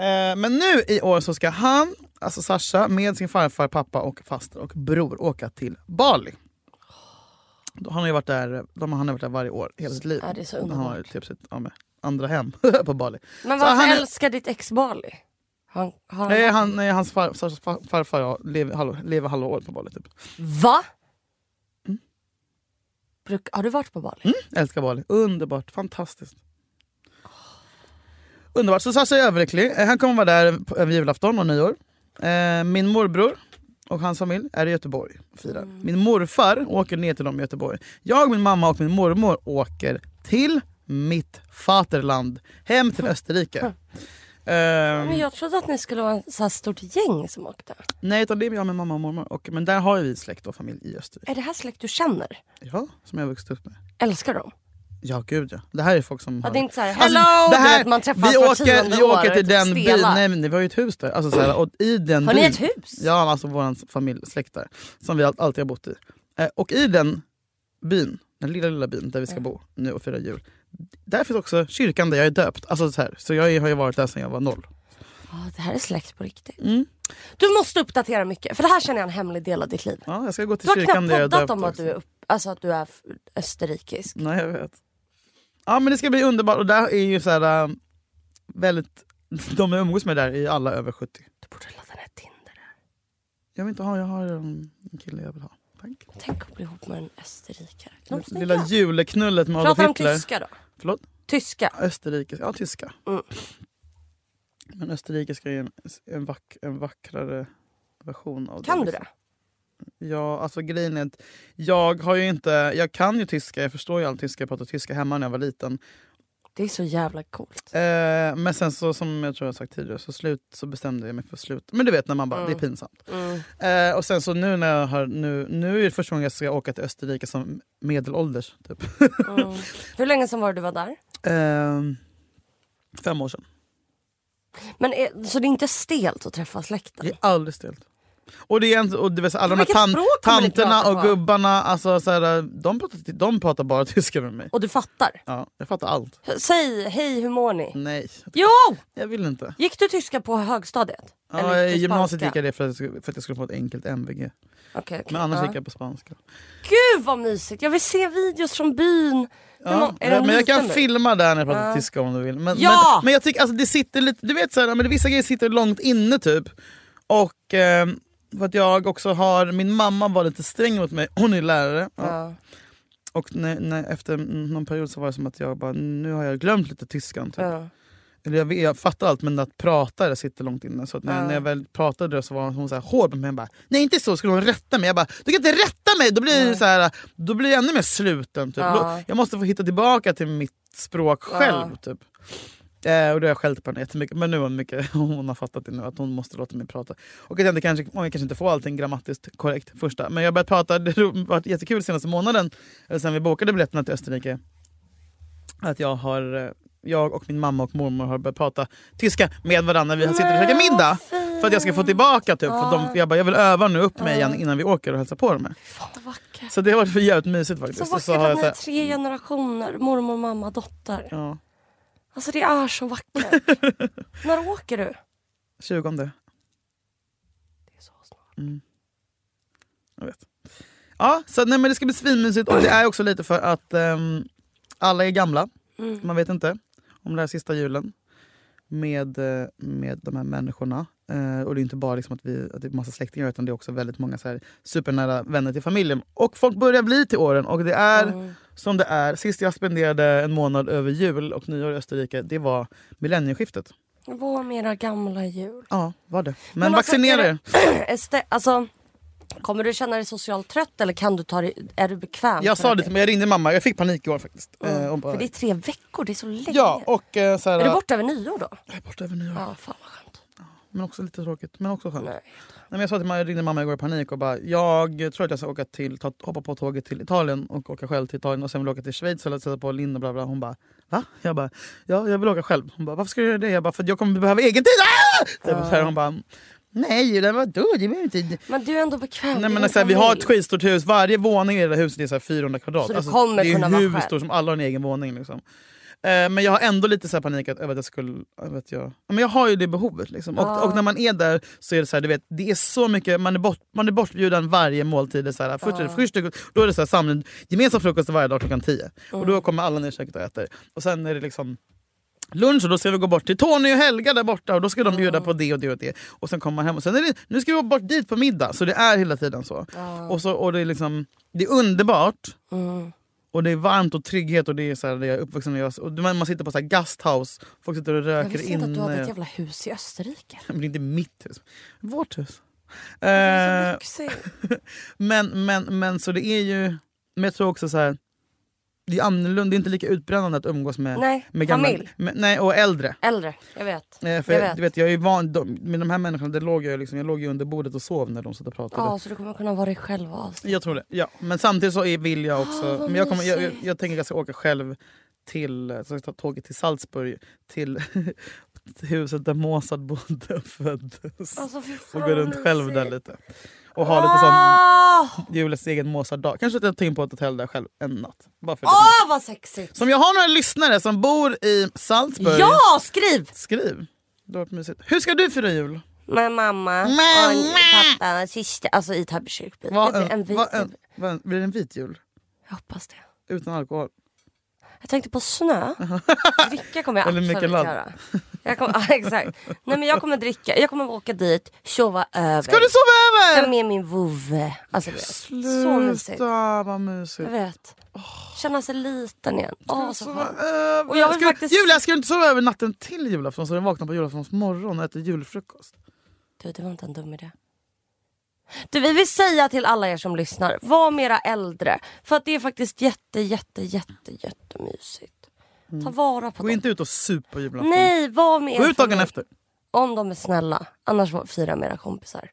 [SPEAKER 2] Eh, men nu i år så ska han, alltså Sasha, med sin farfar, pappa och faster och bror åka till Bali. Då- Han har ju varit där, de, han har varit där varje år hela sitt liv.
[SPEAKER 1] Ja, det är så
[SPEAKER 2] han har ju
[SPEAKER 1] underbart.
[SPEAKER 2] typ sitt ja, men, andra hem på Bali.
[SPEAKER 1] Men
[SPEAKER 2] Så
[SPEAKER 1] varför
[SPEAKER 2] han är-
[SPEAKER 1] älskar ditt ex Bali? Han, har han...
[SPEAKER 2] Nej, han, nej hans far, Sashas far, farfar ja, lever, halva, lever halva året på Bali. Typ.
[SPEAKER 1] Va?
[SPEAKER 2] Mm.
[SPEAKER 1] Bruk... Har du varit på Bali?
[SPEAKER 2] Jag älskar Bali. Underbart, fantastiskt. Underbart. Så Sasha är överlycklig. Eh, Han kommer vara där på- över julafton och nyår. Eh, Min morbror och hans familj är i Göteborg och firar.
[SPEAKER 1] Mm.
[SPEAKER 2] Min morfar åker ner till dem i Göteborg. Jag, min mamma och min mormor åker till mitt faterland. Hem till Österrike. Ehm,
[SPEAKER 1] Men jag trodde att ni skulle vara ett så här stort gäng som åkte.
[SPEAKER 2] nej, utan det är jag med mamma och mormor. Och, men där har ju vi släkt och familj i Österrike.
[SPEAKER 1] Är det här släkt du känner?
[SPEAKER 2] Ja, som jag har vuxit upp med.
[SPEAKER 1] Älskar dem?
[SPEAKER 2] Ja gud ja. Det här är folk som
[SPEAKER 1] Ja,
[SPEAKER 2] har...
[SPEAKER 1] det är inte så här,
[SPEAKER 2] Alltså,
[SPEAKER 1] "Hello",
[SPEAKER 2] det
[SPEAKER 1] du
[SPEAKER 2] här,
[SPEAKER 1] vet, man träffas
[SPEAKER 2] vi
[SPEAKER 1] var
[SPEAKER 2] åker,
[SPEAKER 1] tionde
[SPEAKER 2] vi
[SPEAKER 1] år,
[SPEAKER 2] åker till
[SPEAKER 1] typ
[SPEAKER 2] den byn,
[SPEAKER 1] stela.
[SPEAKER 2] nej men vi har ju ett hus där. Alltså, så här, och i den
[SPEAKER 1] Har ni
[SPEAKER 2] byn,
[SPEAKER 1] ett hus?
[SPEAKER 2] Ja, alltså vår familj, släkt där. Som vi all- alltid har bott i. Eh, och i den byn, den lilla lilla byn där vi ska bo nu och fira jul. Där finns också kyrkan där jag är döpt. Alltså, så här, så jag har ju varit där sedan jag var noll.
[SPEAKER 1] Ja, det här är släkt på riktigt.
[SPEAKER 2] Mm.
[SPEAKER 1] Du måste uppdatera mycket, för det här känner jag är en hemlig del av ditt liv.
[SPEAKER 2] Ja, jag ska gå till
[SPEAKER 1] Du har
[SPEAKER 2] kyrkan
[SPEAKER 1] knappt
[SPEAKER 2] där jag är döpt
[SPEAKER 1] poddat om att
[SPEAKER 2] också.
[SPEAKER 1] du är, upp, alltså att du är f- österrikisk.
[SPEAKER 2] Nej, jag vet. Ja, men det ska bli underbart. Och där är ju så här, eh, väldigt... De jag umgås med där är alla över 70.
[SPEAKER 1] Du borde ladda ner Tinder. där.
[SPEAKER 2] Jag vill inte ha, jag har um, en kille jag vill ha. Tack.
[SPEAKER 1] Tänk att bli ihop med en österrikare. Är de snygga?
[SPEAKER 2] Lilla juleknullet med Adolf
[SPEAKER 1] Pratar de
[SPEAKER 2] Hitler.
[SPEAKER 1] tyska då?
[SPEAKER 2] Förlåt?
[SPEAKER 1] Tyska?
[SPEAKER 2] Österrikiska, ja tyska.
[SPEAKER 1] Mm.
[SPEAKER 2] Men österrikiska är en, en, vack, en vackrare version av
[SPEAKER 1] Kan
[SPEAKER 2] det.
[SPEAKER 1] du
[SPEAKER 2] liksom.
[SPEAKER 1] det?
[SPEAKER 2] Ja, alltså grejen är att jag har ju inte, jag kan ju tyska, jag förstår ju all tyska, jag pratade tyska hemma när jag var liten.
[SPEAKER 1] Det är så jävla coolt.
[SPEAKER 2] Eh, men sen så som jag tror jag har sagt tidigare så, slut, så bestämde jag mig för slut. Men du vet när man bara,
[SPEAKER 1] Mm.
[SPEAKER 2] det är pinsamt.
[SPEAKER 1] Mm.
[SPEAKER 2] Eh, och sen så nu när jag har, nu, nu är det första gången jag ska åka till Österrike som medelålders. Typ.
[SPEAKER 1] Mm. Hur länge sedan var det du var där?
[SPEAKER 2] Eh, fem år sedan.
[SPEAKER 1] Men är, så det är inte stelt att träffa släkten?
[SPEAKER 2] Det är alldeles stelt. Och det är inte, och det vill säga, alla de här
[SPEAKER 1] Vilket
[SPEAKER 2] tan-
[SPEAKER 1] språk kommer ni
[SPEAKER 2] tanterna
[SPEAKER 1] prata
[SPEAKER 2] och
[SPEAKER 1] på?
[SPEAKER 2] gubbarna, alltså, så här, de, pratar, de pratar bara tyska med mig.
[SPEAKER 1] Och du fattar?
[SPEAKER 2] Ja, jag fattar allt.
[SPEAKER 1] H- Säg hej, hur mår ni?
[SPEAKER 2] Nej,
[SPEAKER 1] Jo!
[SPEAKER 2] jag vill inte.
[SPEAKER 1] Gick du tyska på högstadiet?
[SPEAKER 2] Ja, I gymnasiet gick jag det för att, jag skulle- för att jag skulle få ett enkelt MVG.
[SPEAKER 1] Okay,
[SPEAKER 2] Men annars gick jag på spanska.
[SPEAKER 1] Gud vad mysigt! Jag vill se videos från byn. Hur
[SPEAKER 2] Ja,
[SPEAKER 1] må- är de
[SPEAKER 2] men jag kan
[SPEAKER 1] liten nu?
[SPEAKER 2] filma där när jag pratar tyska om du vill. Men,
[SPEAKER 1] Ja!
[SPEAKER 2] men, men jag tycker alltså, det sitter lite, du vet så här, men vissa grejer sitter långt inne typ. Och eh, för att jag också har, min mamma var lite sträng mot mig, hon är lärare. Ja.
[SPEAKER 1] Ja.
[SPEAKER 2] Och när, när, efter någon period så var det som att jag bara, nu har jag glömt lite tyskan. Typ.
[SPEAKER 1] Ja.
[SPEAKER 2] Eller jag, vet- jag fattar allt men att prata det sitter långt inne. Så att när,
[SPEAKER 1] Ja.
[SPEAKER 2] när jag väl pratade det så var hon så här hård mot mig. Jag bara, Nej inte så, skulle hon rätta mig? Jag bara, du kan inte rätta mig! Då blir, det så här, då blir jag ännu mer sluten. Typ.
[SPEAKER 1] Ja.
[SPEAKER 2] Då, jag måste få hitta tillbaka till mitt språk själv. Typ. Eh, och då har jag skällt på henne jättemycket. Men nu har mycket, hon har fattat det nu, att hon måste låta mig prata. Och att jag inte, kanske, och jag kanske inte får allting grammatiskt korrekt första. Men jag har börjat prata, det har varit jättekul senaste månaden, eller Eh, sen vi bokade biljetterna till Österrike. Att jag har eh, jag och min mamma och mormor har börjat prata tyska med varandra när vi sitter och käkar middag. För att jag ska få tillbaka typ. För de, jag bara, jag vill öva nu upp mig igen innan vi åker och hälsar på dem. Här.
[SPEAKER 1] Vad vackert.
[SPEAKER 2] Så det har varit för jävligt mysigt
[SPEAKER 1] Så
[SPEAKER 2] faktiskt. Och
[SPEAKER 1] vackert
[SPEAKER 2] så har
[SPEAKER 1] att
[SPEAKER 2] jag
[SPEAKER 1] ni är
[SPEAKER 2] så här,
[SPEAKER 1] tre generationer. Mormor, mamma, dotter.
[SPEAKER 2] ja,
[SPEAKER 1] Alltså det är så vackert. När åker du?
[SPEAKER 2] 20.
[SPEAKER 1] Det är så snart.
[SPEAKER 2] Mm. Jag vet. Ja, så nej, men det ska bli svinmysigt och det är också lite för att ehm, alla är gamla. Man vet inte om det här sista julen med, eh, med de här människorna. Eh, och det är inte bara liksom att, vi, att det är massa släktingar utan det är också väldigt många så här supernära vänner till familjen. Och folk börjar bli till åren och det är som det är. Sist jag spenderade en månad över jul och nyår i Österrike, det var millennieskiftet.
[SPEAKER 1] Vår mera gamla jul.
[SPEAKER 2] Ja, var det. Men,
[SPEAKER 1] Men alltså,
[SPEAKER 2] vaccinera
[SPEAKER 1] är
[SPEAKER 2] er.
[SPEAKER 1] Este, alltså, kommer du känna dig socialt trött eller kan du ta dig, är du bekväm?
[SPEAKER 2] Jag
[SPEAKER 1] för
[SPEAKER 2] sa
[SPEAKER 1] att
[SPEAKER 2] det till mig, jag ringde mamma. Jag fick panik igår faktiskt.
[SPEAKER 1] Mm.
[SPEAKER 2] Eh, och bara-
[SPEAKER 1] För det är tre veckor, det är så länge.
[SPEAKER 2] Ja, och eh, så här,
[SPEAKER 1] är du borta över nyår då?
[SPEAKER 2] Jag är borta över nyår.
[SPEAKER 1] Ja, fan vad skönt.
[SPEAKER 2] Men också lite tråkigt. Men också skönt. Nej.
[SPEAKER 1] Nej.
[SPEAKER 2] men jag sa till mamma, jag ringde mamma igår i panik och bara jag tror att jag ska åka till, ta, hoppa på tåget till Italien och åka själv till Italien och sen vill jag åka till Schweiz och sätta på Linn och bla bla. Hon bara va? Jag bara ja, jag vill åka själv. Hon bara varför ska du göra det? Jag bara för att jag kommer behöva egen tid. Ah! Typ så här, hon bara nej Julia vadå? Det behöver inte...
[SPEAKER 1] Men du är ändå bekväm. det
[SPEAKER 2] Nej,
[SPEAKER 1] är
[SPEAKER 2] men
[SPEAKER 1] din
[SPEAKER 2] alltså, vi har ett
[SPEAKER 1] familj.
[SPEAKER 2] skitstort hus, varje våning i det där huset är så här 400 kvadrat. Alltså,
[SPEAKER 1] Så du kommer
[SPEAKER 2] det är
[SPEAKER 1] kunna vara
[SPEAKER 2] hur
[SPEAKER 1] själv.
[SPEAKER 2] stort som alla har en egen våning. Liksom. Eh, men jag har ändå lite så här panik att- över att jag skulle... Över att jag, men jag har ju det behovet. Liksom. Och, och när man är där så är det så här, du vet, det är så mycket, man är, bort, man är bortbjuden varje måltid. Det är Så här, först, är det, först är det, då är det så här, samling, gemensam frukost varje dag klockan 10. Och
[SPEAKER 1] Mm.
[SPEAKER 2] då kommer alla ner i köket och äter. Och sen är det liksom lunch och då ska vi gå bort till Tony och Helga där borta och då ska de bjuda på det och det och det. Och sen kommer man hem och sen är det, nu ska vi gå bort dit på middag. Så det är hela tiden så. Och, så, och det, är liksom, det är underbart. Och det är varmt och trygghet och det är så här, det jag är uppvuxen med. Och man, man sitter på så här gasthouse, folk sitter och
[SPEAKER 1] Jag
[SPEAKER 2] röker
[SPEAKER 1] visste inte att du hade ett
[SPEAKER 2] inne.
[SPEAKER 1] jävla hus i Österrike.
[SPEAKER 2] Men det är inte mitt hus, vårt hus.
[SPEAKER 1] Det
[SPEAKER 2] Eh,
[SPEAKER 1] är så lyxigt.
[SPEAKER 2] men, men, men så det är ju, men jag tror också så här. Det är annorlunda, det är inte lika utbrännande att umgås med,
[SPEAKER 1] Nej,
[SPEAKER 2] med gamla,
[SPEAKER 1] familj.
[SPEAKER 2] Med, nej, och äldre.
[SPEAKER 1] Äldre, jag vet.
[SPEAKER 2] Eh, för
[SPEAKER 1] jag
[SPEAKER 2] jag,
[SPEAKER 1] vet.
[SPEAKER 2] Du vet, jag är ju van, de, med de här människorna det låg jag, ju liksom, jag låg ju under bordet och sov när de satt och pratade.
[SPEAKER 1] Ja, så du kommer kunna vara dig själv och avsnitt.
[SPEAKER 2] Jag tror det. Ja. Men samtidigt så är- vill jag också...
[SPEAKER 1] Ah, vad
[SPEAKER 2] men jag, kommer, jag, jag,
[SPEAKER 1] mysigt.
[SPEAKER 2] jag tänker att jag ska åka själv till, jag ska ta tåget till Salzburg, till huset där Mozart bodde och föddes.
[SPEAKER 1] Alltså, fy fan,
[SPEAKER 2] och gå runt
[SPEAKER 1] vad
[SPEAKER 2] själv där
[SPEAKER 1] mysigt. Ah!
[SPEAKER 2] lite. Och ha lite sån
[SPEAKER 1] Åh,
[SPEAKER 2] julens egen Mozart-dag. Kanske att jag tar in på ett hotell där själv en natt. Bara för det.
[SPEAKER 1] åh, vad sexigt!
[SPEAKER 2] Så om jag har några lyssnare som bor i Salzburg,
[SPEAKER 1] Ja, skriv!
[SPEAKER 2] skriv. Det har varit mysigt. Hur ska du fira jul?
[SPEAKER 1] Med mamma,
[SPEAKER 2] Mamma!
[SPEAKER 1] och pappa och syster. Alltså i Täby kyrkby.
[SPEAKER 2] Vad
[SPEAKER 1] det blir en
[SPEAKER 2] en,
[SPEAKER 1] vit
[SPEAKER 2] vad en,
[SPEAKER 1] jul.
[SPEAKER 2] vad en, blir det en vit jul?
[SPEAKER 1] Jag hoppas det.
[SPEAKER 2] Utan alkohol?
[SPEAKER 1] Jag tänkte på snö. Dricka kommer jag
[SPEAKER 2] Eller
[SPEAKER 1] absolut
[SPEAKER 2] Michelad.
[SPEAKER 1] göra. Jag kommer, ja, exakt. Nej, men jag kommer dricka. Jag kommer åka dit, sova över.
[SPEAKER 2] Ska du sova
[SPEAKER 1] Ta
[SPEAKER 2] över?
[SPEAKER 1] med min vovve. Alltså, du vet, så mysigt.
[SPEAKER 2] Sluta vad
[SPEAKER 1] Jag
[SPEAKER 2] mysigt.
[SPEAKER 1] vet. Känna sig liten igen. Åh, så
[SPEAKER 2] Sova
[SPEAKER 1] skönt.
[SPEAKER 2] över.
[SPEAKER 1] Och jag vill
[SPEAKER 2] ska, du-
[SPEAKER 1] faktiskt-
[SPEAKER 2] Julia, ska du inte sova över natten till julafton så du vaknar på julaftons morgon och äter julfrukost?
[SPEAKER 1] Du, det var inte en dum idé. Du, vi vill säga till alla er som lyssnar, var mera äldre. För att det är faktiskt jätte, jätte, jätte, jättemysigt. Ta vara på
[SPEAKER 2] Mm. Gå
[SPEAKER 1] dem.
[SPEAKER 2] inte ut och sup på julafton.
[SPEAKER 1] Nej, var med
[SPEAKER 2] Gå
[SPEAKER 1] er
[SPEAKER 2] ut dagen
[SPEAKER 1] familj.
[SPEAKER 2] efter.
[SPEAKER 1] Om de är snälla. Annars får- fira med era kompisar.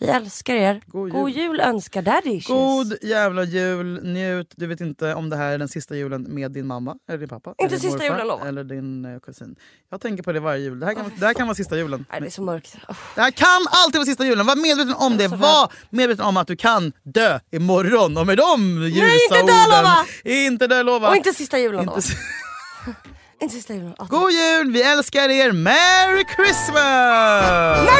[SPEAKER 1] Vi älskar er.
[SPEAKER 2] Mm. God jul.
[SPEAKER 1] önskar Daddy
[SPEAKER 2] God jävla jul, njut. Du vet inte om det här är den sista julen med din mamma eller din pappa.
[SPEAKER 1] Inte
[SPEAKER 2] eller din
[SPEAKER 1] sista julen, lova.
[SPEAKER 2] Eller din eh, kusin. Jag tänker på det varje jul. Det här kan, det här kan vara sista julen.
[SPEAKER 1] Nej, det är så mörkt. Åh,
[SPEAKER 2] Det här kan alltid vara sista julen. Var medveten om det. Var medveten om att du kan dö imorgon. Och med de ljusa
[SPEAKER 1] inte dö,
[SPEAKER 2] orden.
[SPEAKER 1] Lova!
[SPEAKER 2] Inte dö lova!
[SPEAKER 1] Och inte sista julen då.
[SPEAKER 2] Inte s-
[SPEAKER 1] Inte sista julen. Åh,
[SPEAKER 2] God jul, vi älskar er. Merry Christmas!